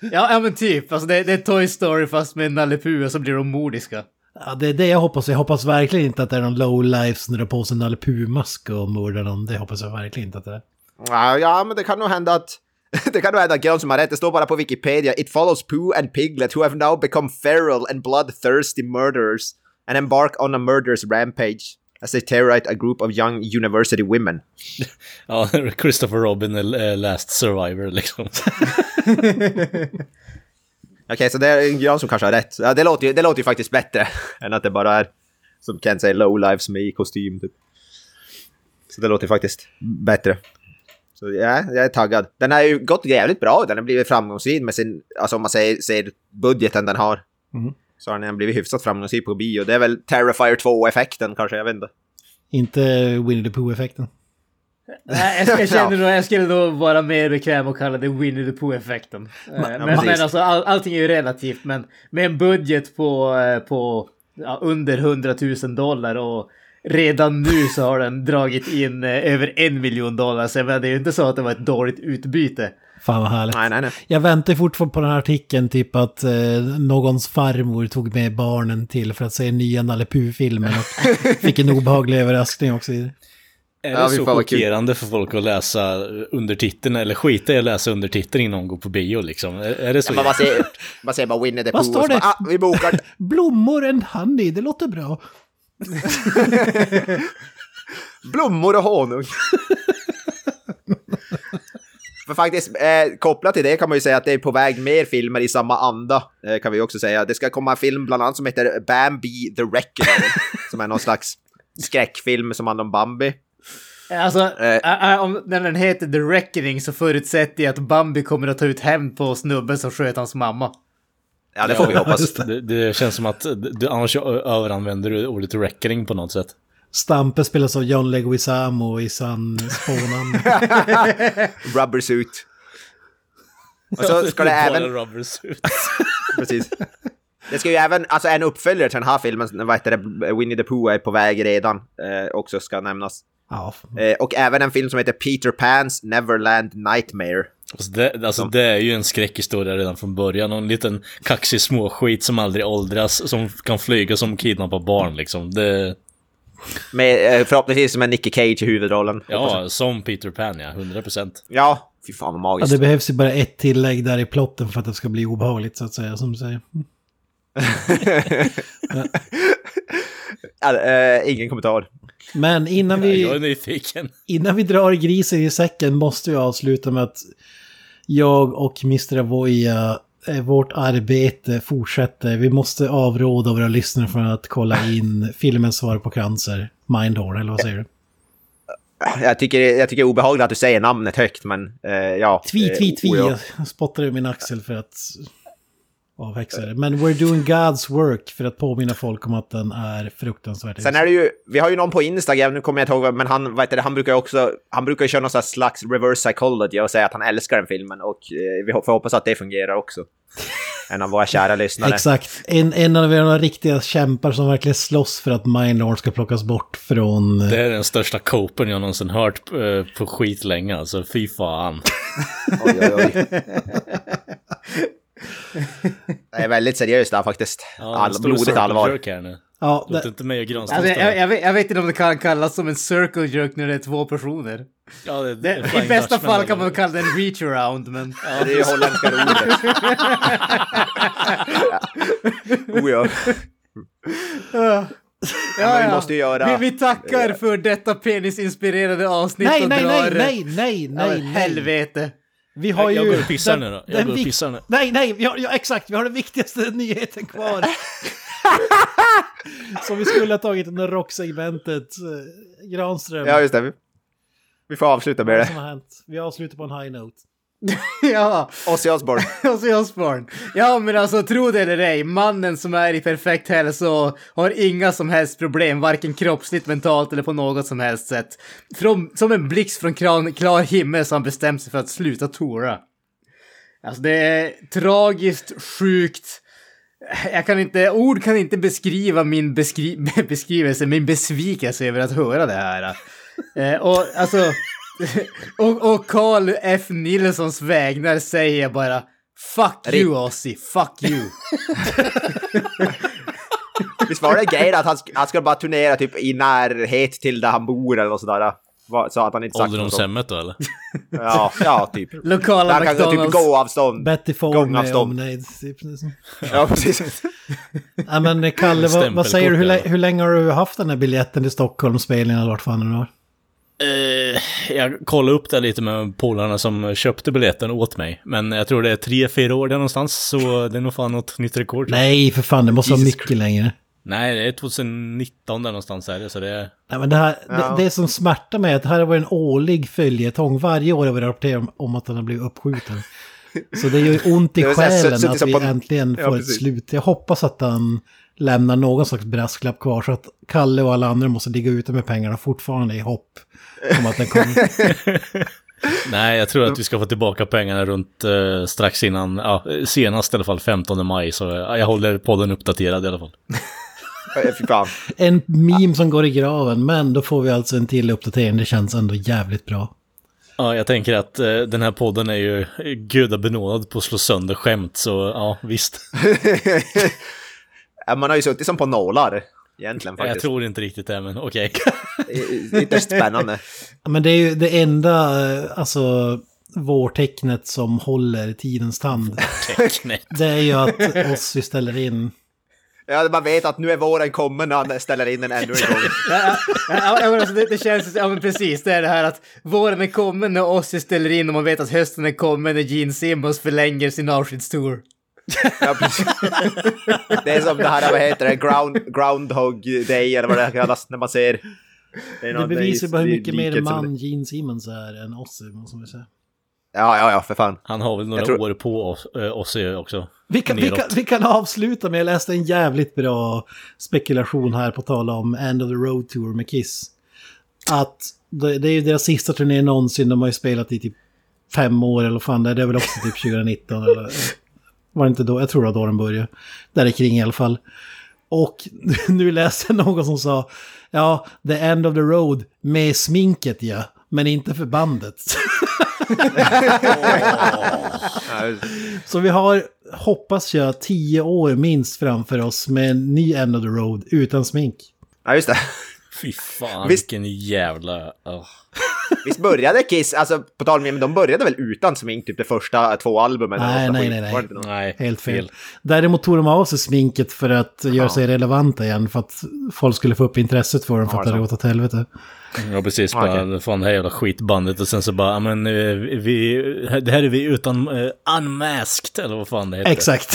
[SPEAKER 1] Ja, ja men typ, alltså det, det är Toy Story fast med Nalle Puh och så blir de mordiska.
[SPEAKER 4] Ja, det är det jag hoppas. Jag hoppas verkligen inte att det är någon lowlife som drar på sig en Nalle Puh-mask och mördar någon. Det hoppas jag verkligen inte att det är.
[SPEAKER 2] Ja, ja, men det kan nog hända att... Det kan nog hända att Grönström har rätt, det står bara på Wikipedia. It follows Pooh and Piglet who have now become feral and bloodthirsty murderers and embark on a murderous rampage as they terrorize a group of young university women.
[SPEAKER 3] Ja, Christopher Robin är eh, last survivor liksom.
[SPEAKER 2] Okej, så det är Grönström kanske har rätt. Ja, det, låter ju, det låter ju faktiskt bättre än att det bara är, som Kent säger, lowlives med i kostym typ. Så det låter ju faktiskt bättre. Så ja, jag är taggad. Den har ju gått jävligt bra, den har blivit framgångsrik med sin, alltså om man säger, ser budgeten den har.
[SPEAKER 4] Mm.
[SPEAKER 2] Så har den blivit hyfsat framgångsrik på bio. Det är väl Terrifier 2-effekten kanske, jag vet inte.
[SPEAKER 4] Inte Winnie the Pooh-effekten.
[SPEAKER 1] Nej, jag, jag, känner
[SPEAKER 2] Ja.
[SPEAKER 1] nog, jag skulle nog vara mer bekväm och kalla det Winnie the Pooh-effekten. Eh, Men, men
[SPEAKER 2] precis.
[SPEAKER 1] alltså, all, allting är ju relativt, men med en budget på, eh, på ja, under 100 000 dollar och redan nu så har den dragit in eh, över en miljon dollar. Så jag menar, det är ju inte så att det var ett dåligt utbyte.
[SPEAKER 4] Fan vad härligt.
[SPEAKER 2] Nej, nej, nej.
[SPEAKER 4] Jag väntar fortfarande på den här artikeln, typ att eh, någons farmor tog med barnen till för att se nya Nalle Puh-filmen och fick en obehaglig överraskning också. i det.
[SPEAKER 3] Är
[SPEAKER 2] Ja,
[SPEAKER 3] det
[SPEAKER 2] fy
[SPEAKER 3] så
[SPEAKER 2] fan vad kul.
[SPEAKER 3] chockerande för folk att läsa undertiteln eller skita i att läsa undertiteln innan de går på bio liksom? Är, är det så?
[SPEAKER 2] Men man bara säger, man säger bara Winnie the Pooh
[SPEAKER 4] Vad
[SPEAKER 2] och
[SPEAKER 4] står
[SPEAKER 2] så bara,
[SPEAKER 4] det?
[SPEAKER 2] ah, vi bokar
[SPEAKER 4] Blommor and honey, det låter bra.
[SPEAKER 2] Blommor och honung. För faktiskt, eh, kopplat till det kan man ju säga att det är på väg mer filmer i samma anda. Eh, kan vi också säga. Det ska komma en film bland annat som heter Bambi the Reckoning. som är någon slags skräckfilm som handlar om Bambi.
[SPEAKER 1] Alltså, eh, eh, om, när den heter The Reckoning så förutsätter jag att Bambi kommer att ta ut hämnd på snubben som sköt hans mamma.
[SPEAKER 2] Ja, det får vi hoppas.
[SPEAKER 3] Det, det känns som att du, annars ö- överanvänder du ordet räckring på något sätt.
[SPEAKER 4] Stampe spelas av John Leguizamo i San Spånan.
[SPEAKER 2] Rubber suit. Och så ska det
[SPEAKER 3] Bara
[SPEAKER 2] även...
[SPEAKER 3] rubber suit.
[SPEAKER 2] Precis. Det ska ju även, alltså en uppföljare till den här filmen, vad heter det, Winnie the Pooh är på väg redan, eh, också ska nämnas.
[SPEAKER 4] Ja,
[SPEAKER 2] Eh, och även en film som heter Peter Pans Neverland Nightmare.
[SPEAKER 3] Alltså det, alltså det är ju en skräckhistoria redan från början. Och en liten kaxig småskit som aldrig åldras, som kan flyga som kidnappar barn liksom. Det,
[SPEAKER 2] Med, eh, förhoppningsvis med Nicky Cage i huvudrollen. Hoppas jag.
[SPEAKER 3] ja, som Peter Pan ja, 100%.
[SPEAKER 2] Ja, fy fan vad
[SPEAKER 4] Ja,
[SPEAKER 2] magiskt.
[SPEAKER 4] det behövs ju bara ett tillägg där i plotten för att det ska bli obehagligt så att säga. Som du säger.
[SPEAKER 2] Ja, eh, ingen kommentar.
[SPEAKER 4] Men innan
[SPEAKER 3] Jag är
[SPEAKER 4] vi,
[SPEAKER 3] nyfiken.
[SPEAKER 4] innan vi drar grisen i säcken måste vi avsluta med att jag och Mr. Avoya, eh, vårt arbete fortsätter. Vi måste avråda våra lyssnare från att kolla in filmen Svar på cancer, Mindhorn, eller vad säger du?
[SPEAKER 2] Jag tycker, jag tycker det är obehagligt att du säger namnet högt, men eh, ja.
[SPEAKER 4] Tvi, tvi, tvi.
[SPEAKER 2] Eh, o- ja.
[SPEAKER 4] Jag spottade i min axel för att avväxa det. Men We're doing God's work för att påminna folk om att den är fruktansvärt
[SPEAKER 2] Sen är det ju, vi har ju någon på Instagram, nu kommer jag inte ihåg, vem, men han, vad heter det, han brukar ju också, han brukar ju köra någon sån här slags reverse psychology och säga att han älskar den filmen och eh, vi hop- får hoppas att det fungerar också. En av våra kära lyssnare.
[SPEAKER 4] Exakt. En, en av de riktiga kämpar som verkligen slåss för att Mindlord ska plockas bort från...
[SPEAKER 3] Det är den största copen jag någonsin hört eh, på skit länge alltså. Fy fan.
[SPEAKER 2] Oj, oj, oj. Det är väldigt seriöst där faktiskt.
[SPEAKER 3] Ja, en
[SPEAKER 2] All,
[SPEAKER 3] stor
[SPEAKER 2] blodigt
[SPEAKER 3] circle
[SPEAKER 2] allvar.
[SPEAKER 3] jerk Här nu.
[SPEAKER 4] Ja,
[SPEAKER 3] Låt
[SPEAKER 4] det,
[SPEAKER 3] inte mig och Granström
[SPEAKER 1] Alltså,
[SPEAKER 3] stå
[SPEAKER 1] jag,
[SPEAKER 3] här.
[SPEAKER 1] jag, vet, jag vet inte om det kan kallas som en circle jerk när det är två personer.
[SPEAKER 3] Ja, det- det är
[SPEAKER 1] Det, I
[SPEAKER 3] Flying
[SPEAKER 1] bästa
[SPEAKER 3] Dutchman
[SPEAKER 1] fall kan
[SPEAKER 3] bara.
[SPEAKER 1] man kalla det en reach around, men...
[SPEAKER 2] Ja, det är ju holländska rodet. oh, ja.
[SPEAKER 1] Ja,
[SPEAKER 2] men vi måste ju göra-
[SPEAKER 1] Vi, vi tackar för detta penisinspirerade avsnitt
[SPEAKER 4] nej,
[SPEAKER 1] och
[SPEAKER 4] nej,
[SPEAKER 1] drar...
[SPEAKER 4] nej, nej, nej,
[SPEAKER 1] Ja,
[SPEAKER 4] nej,
[SPEAKER 1] men
[SPEAKER 4] nej.
[SPEAKER 1] Helvete.
[SPEAKER 4] Vi har ju...
[SPEAKER 3] Jag går och pissar
[SPEAKER 4] den-
[SPEAKER 3] nu då.
[SPEAKER 4] den
[SPEAKER 3] Jag går och
[SPEAKER 4] vik-
[SPEAKER 3] pissar nu.
[SPEAKER 4] Nej, nej, vi har, ja, exakt. Vi har den viktigaste nyheten kvar. Som vi skulle ha tagit under rocksegmentet. Eh, Granström.
[SPEAKER 2] ja, just det. Vi- Vi får avsluta med
[SPEAKER 4] Vad som
[SPEAKER 2] det.
[SPEAKER 4] har hänt. Vi avslutar på en high note.
[SPEAKER 1] Ja,
[SPEAKER 2] Ozzy Osbourne.
[SPEAKER 1] och så Osbourne. Ja, men alltså tro det eller ej, mannen som är i perfekt hälsa och har inga som helst problem, varken kroppsligt, mentalt eller på något som helst sätt. Från, som en blixt från kran, klar himmel så har han bestämt sig för att sluta tora. Alltså det är tragiskt, sjukt. Jag kan inte, ord kan inte beskriva min beskri, beskrivelse, min besvikelse över att höra det här. Eh, och alltså, och, och Carl F. Nilssons vägnar säger jag bara Fuck you Ozzy, fuck you.
[SPEAKER 2] Visst var det grejen att han, sk- han skulle bara turnera typ i närhet till där han bor eller något sådär? Va- Så att han inte sagt något. sånt.
[SPEAKER 3] Ålderdomshemmet då eller?
[SPEAKER 2] Ja, ja, typ.
[SPEAKER 1] Lokala
[SPEAKER 2] Där kan gå typ
[SPEAKER 1] McDonalds.
[SPEAKER 2] gå-avstånd.
[SPEAKER 4] Betty Ford med
[SPEAKER 2] Gångavstånd.
[SPEAKER 4] omnejd. Typ.
[SPEAKER 2] Ja, precis.
[SPEAKER 4] Ja, men eh, Kalle, vad, vad
[SPEAKER 3] Stämpelkort,
[SPEAKER 4] säger du? Hur, lä-
[SPEAKER 3] eller?
[SPEAKER 4] hur länge har du haft den här biljetten till Stockholmsspelningen eller vart fan det nu var?
[SPEAKER 3] Eh, jag kollade upp det lite med polarna som köpte biljetten åt mig. Men jag tror det är tre, fyra år där någonstans, så det är nog fan något nytt rekord.
[SPEAKER 4] Nej, för fan, det måste vara
[SPEAKER 3] Jesus
[SPEAKER 4] mycket längre.
[SPEAKER 3] Nej, det är 2019 där någonstans är det, så det är...
[SPEAKER 4] Nej, men det, här, det, det som smärtar mig är att det här har varit en årlig följetong. Varje år har vi rapporterat om, om att den har blivit uppskjuten. Så det gör ju ont i
[SPEAKER 2] Det vill säga,
[SPEAKER 4] själen
[SPEAKER 2] suttit
[SPEAKER 4] att
[SPEAKER 2] som
[SPEAKER 4] vi
[SPEAKER 2] på en-
[SPEAKER 4] äntligen
[SPEAKER 2] Ja,
[SPEAKER 4] får ett
[SPEAKER 2] precis.
[SPEAKER 4] slut. Jag hoppas att den lämnar någon slags brasklapp kvar så att Kalle och alla andra måste ligga ute med pengarna fortfarande i hopp om att den kommer.
[SPEAKER 3] Nej, jag tror att vi ska få tillbaka pengarna runt eh, strax innan, ja, senast i alla fall 15 maj, så eh, jag håller podden uppdaterad i alla fall.
[SPEAKER 2] Eh, Fy fan.
[SPEAKER 4] En meme som går i graven, men då får vi alltså en till uppdatering. Det känns ändå jävligt bra.
[SPEAKER 3] Ja, jag tänker att eh, den här podden är ju gudabenådad på att slå sönder skämt, så ja, visst.
[SPEAKER 2] Ja, Man har ju suttit som på nålar. Egentligen
[SPEAKER 3] Jag
[SPEAKER 2] faktiskt.
[SPEAKER 3] tror inte riktigt det, men okej.
[SPEAKER 2] I- i- Ytterst spännande.
[SPEAKER 4] Ja, Men det är ju det enda, eh, alltså, vårtecknet som håller tidens tand.
[SPEAKER 3] Tecknet.
[SPEAKER 4] Det är ju att Ozzy ställer in.
[SPEAKER 2] Ja, man vet att nu är våren kommen när han ställer in den ännu en gång.
[SPEAKER 1] Ja, ja, ja, men alltså, det, det känns, ja men precis, det är det här att våren är kommen när Ozzy ställer in och man vet att hösten är kommen när Gene Simmons förlänger sin avskedstour.
[SPEAKER 2] Ja, precis. det är som det här, vad heter det, ground, Groundhog Day eller vad det kallas när man ser. är
[SPEAKER 4] Det
[SPEAKER 2] någon-
[SPEAKER 4] bevisar ju bara hur
[SPEAKER 2] det är
[SPEAKER 4] mycket mer
[SPEAKER 2] liket som-
[SPEAKER 4] man Gene Simmons är än Ozzy, måste man säga.
[SPEAKER 2] Ja, ja, ja, för fan.
[SPEAKER 3] Han har väl några
[SPEAKER 2] Jag tror-
[SPEAKER 3] år på oss, eh, oss ju också.
[SPEAKER 4] Vi kan, vi,
[SPEAKER 3] Neråt.
[SPEAKER 4] kan, vi kan avsluta med, jag läste en jävligt bra spekulation här på tal om End of the Road Tour med Kiss. Att det, det är ju deras sista turné någonsin, de har ju spelat i typ fem år eller vad fan det är, det är väl också typ 2019 eller var det inte då, jag tror det var då den började. Där är kring i alla fall. Och nu läste jag någon som sa, ja, the end of the road med sminket ja, men inte för bandet.
[SPEAKER 2] Ja,
[SPEAKER 4] Så vi har, hoppas jag, tio år minst framför oss med en ny End of the Road utan smink.
[SPEAKER 2] Ja, just det.
[SPEAKER 3] Fy fan,
[SPEAKER 2] Visst-
[SPEAKER 3] vilken jävla... ah.
[SPEAKER 2] Visst började Kiss, alltså på tal om men de började väl utan smink typ det första två albumen?
[SPEAKER 4] Nej,
[SPEAKER 2] eller något skit?
[SPEAKER 4] nej, nej, nej.
[SPEAKER 2] Var det inte något?
[SPEAKER 3] Nej,
[SPEAKER 4] Helt fel. Däremot tog de av sig sminket för att göra sig relevanta igen för att folk skulle få upp intresset för dem för
[SPEAKER 2] Ja,
[SPEAKER 4] att det hade
[SPEAKER 2] så.
[SPEAKER 4] gått åt helvete.
[SPEAKER 3] Ja, precis. Bara, Fan, det här jävla skitbandet. Och sen så bara, ja men eh, vi... Det här är vi utan... eh, unmasked, eller vad fan det heter.
[SPEAKER 4] Exakt.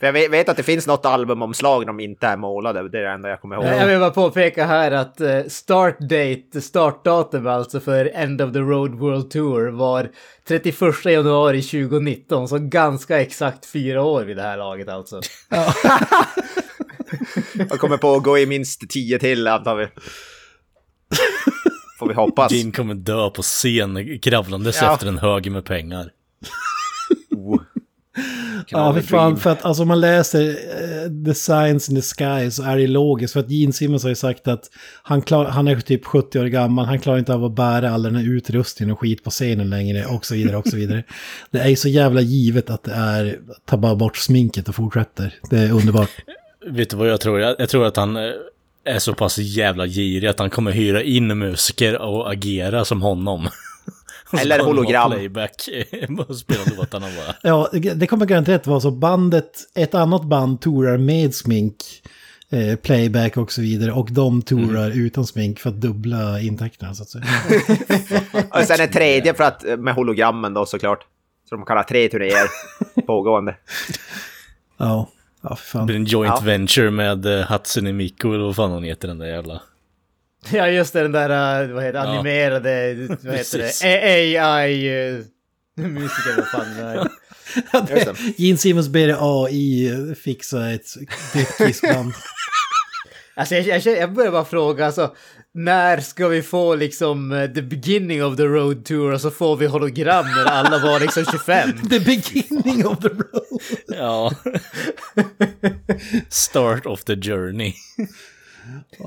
[SPEAKER 2] För jag vet, vet att det finns något albumomslag de inte är målade, det är det enda jag kommer ihåg.
[SPEAKER 1] Jag vill bara påpeka här att eh, start date, startdatum alltså för End of the Road World Tour var 31 januari 2019, så ganska exakt fyra år vid det här laget alltså.
[SPEAKER 2] Jag kommer på att gå i minst tio till antar vi. Får vi hoppas.
[SPEAKER 3] Din kommer dö på scen kravlandes
[SPEAKER 2] Ja.
[SPEAKER 3] efter en hög med pengar.
[SPEAKER 2] Oh.
[SPEAKER 4] Ja, för fan. För att alltså, om man läser eh, The Science in the Sky så är det logiskt. För att Gene Simmons har ju sagt att han, klar, han är typ 70 år gammal. Han klarar inte av att bära all den här utrustningen och skit på scenen längre och så vidare och så vidare. det är ju så jävla givet att det är ta bara bort sminket och fortsätter. Det är underbart.
[SPEAKER 3] Vet du vad jag tror? Jag, jag tror att han eh, är så pass jävla girig att han kommer hyra in musiker och agera som honom. Och så
[SPEAKER 2] Eller
[SPEAKER 3] kommer de ha
[SPEAKER 2] hologram.
[SPEAKER 3] Playback och spela låtarna bara.
[SPEAKER 4] Ja, det kommer garanterat vara så. Bandet, ett annat band tourar med smink, eh, playback och så vidare. Och de tourar utan smink för att dubbla intäkterna så att säga.
[SPEAKER 2] Och sen en tredje för att, med hologrammen då såklart. Så de kan ha tre turnéer pågående.
[SPEAKER 4] ja, ja för
[SPEAKER 3] Det blir
[SPEAKER 4] fan.
[SPEAKER 3] en joint
[SPEAKER 2] Ja.
[SPEAKER 3] venture med eh, Hatsune Miku eller vad fan hon heter den där jävla...
[SPEAKER 1] Ja, just det, den där eh, vad heter, det,
[SPEAKER 3] Ja.
[SPEAKER 1] animerade, vad heter
[SPEAKER 3] Precis.
[SPEAKER 1] det, AI-musiker, eh, vad fan det är.
[SPEAKER 2] Just det.
[SPEAKER 4] Gene Simmons ber AI fixa ett driftkiss-band.
[SPEAKER 1] Alltså jag, jag, jag börjar bara fråga, alltså, när ska vi få liksom eh, the beginning of the road tour och så får vi hologram när alla var liksom 25?
[SPEAKER 4] the beginning of the road.
[SPEAKER 3] Ja. Start of the journey.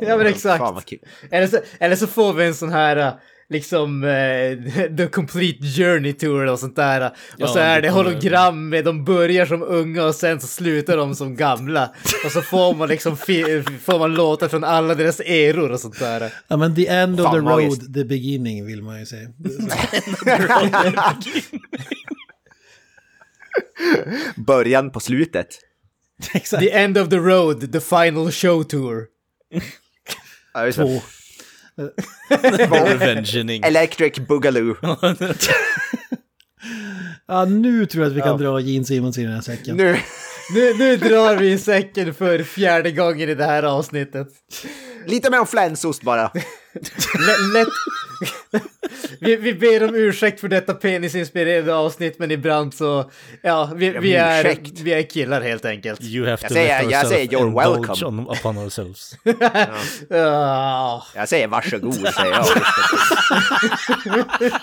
[SPEAKER 1] Ja men exakt.
[SPEAKER 2] Fan vad kul.
[SPEAKER 1] Eller så, eller så får vi en sån här eh, liksom eh, the complete journey tour och sånt där. äh. Och
[SPEAKER 3] Ja,
[SPEAKER 1] så är
[SPEAKER 3] det
[SPEAKER 1] det
[SPEAKER 3] kommer-
[SPEAKER 1] hologram med de börjar som unga och sen så slutar de som gamla. Och så får man liksom fi, får man låtar från alla deras eror och sånt där.
[SPEAKER 4] Ja, men the end of
[SPEAKER 2] Fan,
[SPEAKER 4] the road,
[SPEAKER 2] magiskt.
[SPEAKER 4] the beginning vill man ju säga.
[SPEAKER 2] Början på slutet.
[SPEAKER 4] Exakt.
[SPEAKER 1] The end of the road, the final show tour.
[SPEAKER 2] Ja, just det.
[SPEAKER 4] Två.
[SPEAKER 3] Revengening.
[SPEAKER 2] Electric Boogaloo.
[SPEAKER 4] Ja, nu tror jag att vi kan dra Gene Simmons i den här säcken.
[SPEAKER 2] Nu.
[SPEAKER 1] Nu, nu drar vi i säcken för fjärde gången i det här avsnittet.
[SPEAKER 2] Lite mer om flänsost bara.
[SPEAKER 1] L- lätt... vi, vi ber om ursäkt för detta penisinspirerade avsnitt, men ibland så... Ja, vi, vi,
[SPEAKER 2] men
[SPEAKER 1] är,
[SPEAKER 2] ursäkt.
[SPEAKER 1] vi är killar helt enkelt.
[SPEAKER 3] You have to
[SPEAKER 2] säger-
[SPEAKER 3] let
[SPEAKER 2] jag säger
[SPEAKER 3] ourselves
[SPEAKER 2] you're
[SPEAKER 3] indulge
[SPEAKER 2] welcome.
[SPEAKER 3] On, upon ourselves.
[SPEAKER 1] Ah.
[SPEAKER 2] Jag säger varsågod säger jag.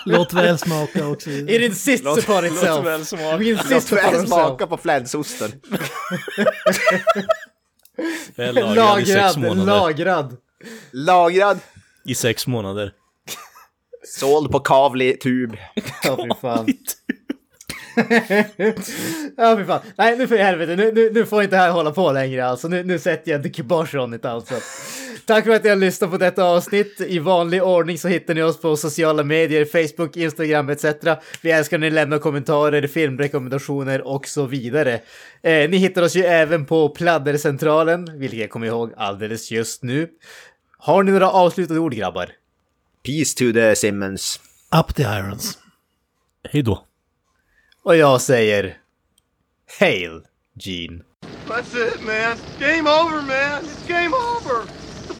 [SPEAKER 4] Låt väl smaka också.
[SPEAKER 1] It insists upon itself.
[SPEAKER 3] väl smaka.
[SPEAKER 1] We
[SPEAKER 2] Låt
[SPEAKER 1] insist upon
[SPEAKER 2] mig
[SPEAKER 1] ourselves.
[SPEAKER 2] smaka på flänsosten.
[SPEAKER 3] Jag är lagrad i sex
[SPEAKER 1] Lagrad,
[SPEAKER 3] månader.
[SPEAKER 1] lagrad.
[SPEAKER 2] Lagrad.
[SPEAKER 3] I sex månader.
[SPEAKER 2] Såld på kavlig tub.
[SPEAKER 1] Ja, fy fan. ja, fy fan. Nej, nu för i helvete. Nu, nu, nu får inte det här hålla på längre alltså. Nu, nu sätter jag the kibosh on it alltså. Tack för att ni har lyssnat på detta avsnitt. I vanlig ordning så hittar ni oss på sociala medier, Facebook, Instagram etc. Vi älskar när ni lämnar kommentarer, filmrekommendationer och så vidare. Eh, ni hittar oss ju även på Pladdercentralen, vilket jag kommer ihåg alldeles just nu. Har ni några avslutande ord grabbar?
[SPEAKER 2] Peace to the Simmons.
[SPEAKER 4] Up the irons.
[SPEAKER 3] Hej då.
[SPEAKER 1] Och jag säger... Hail Gene!
[SPEAKER 6] That's it, man. Game over, man. It's game over.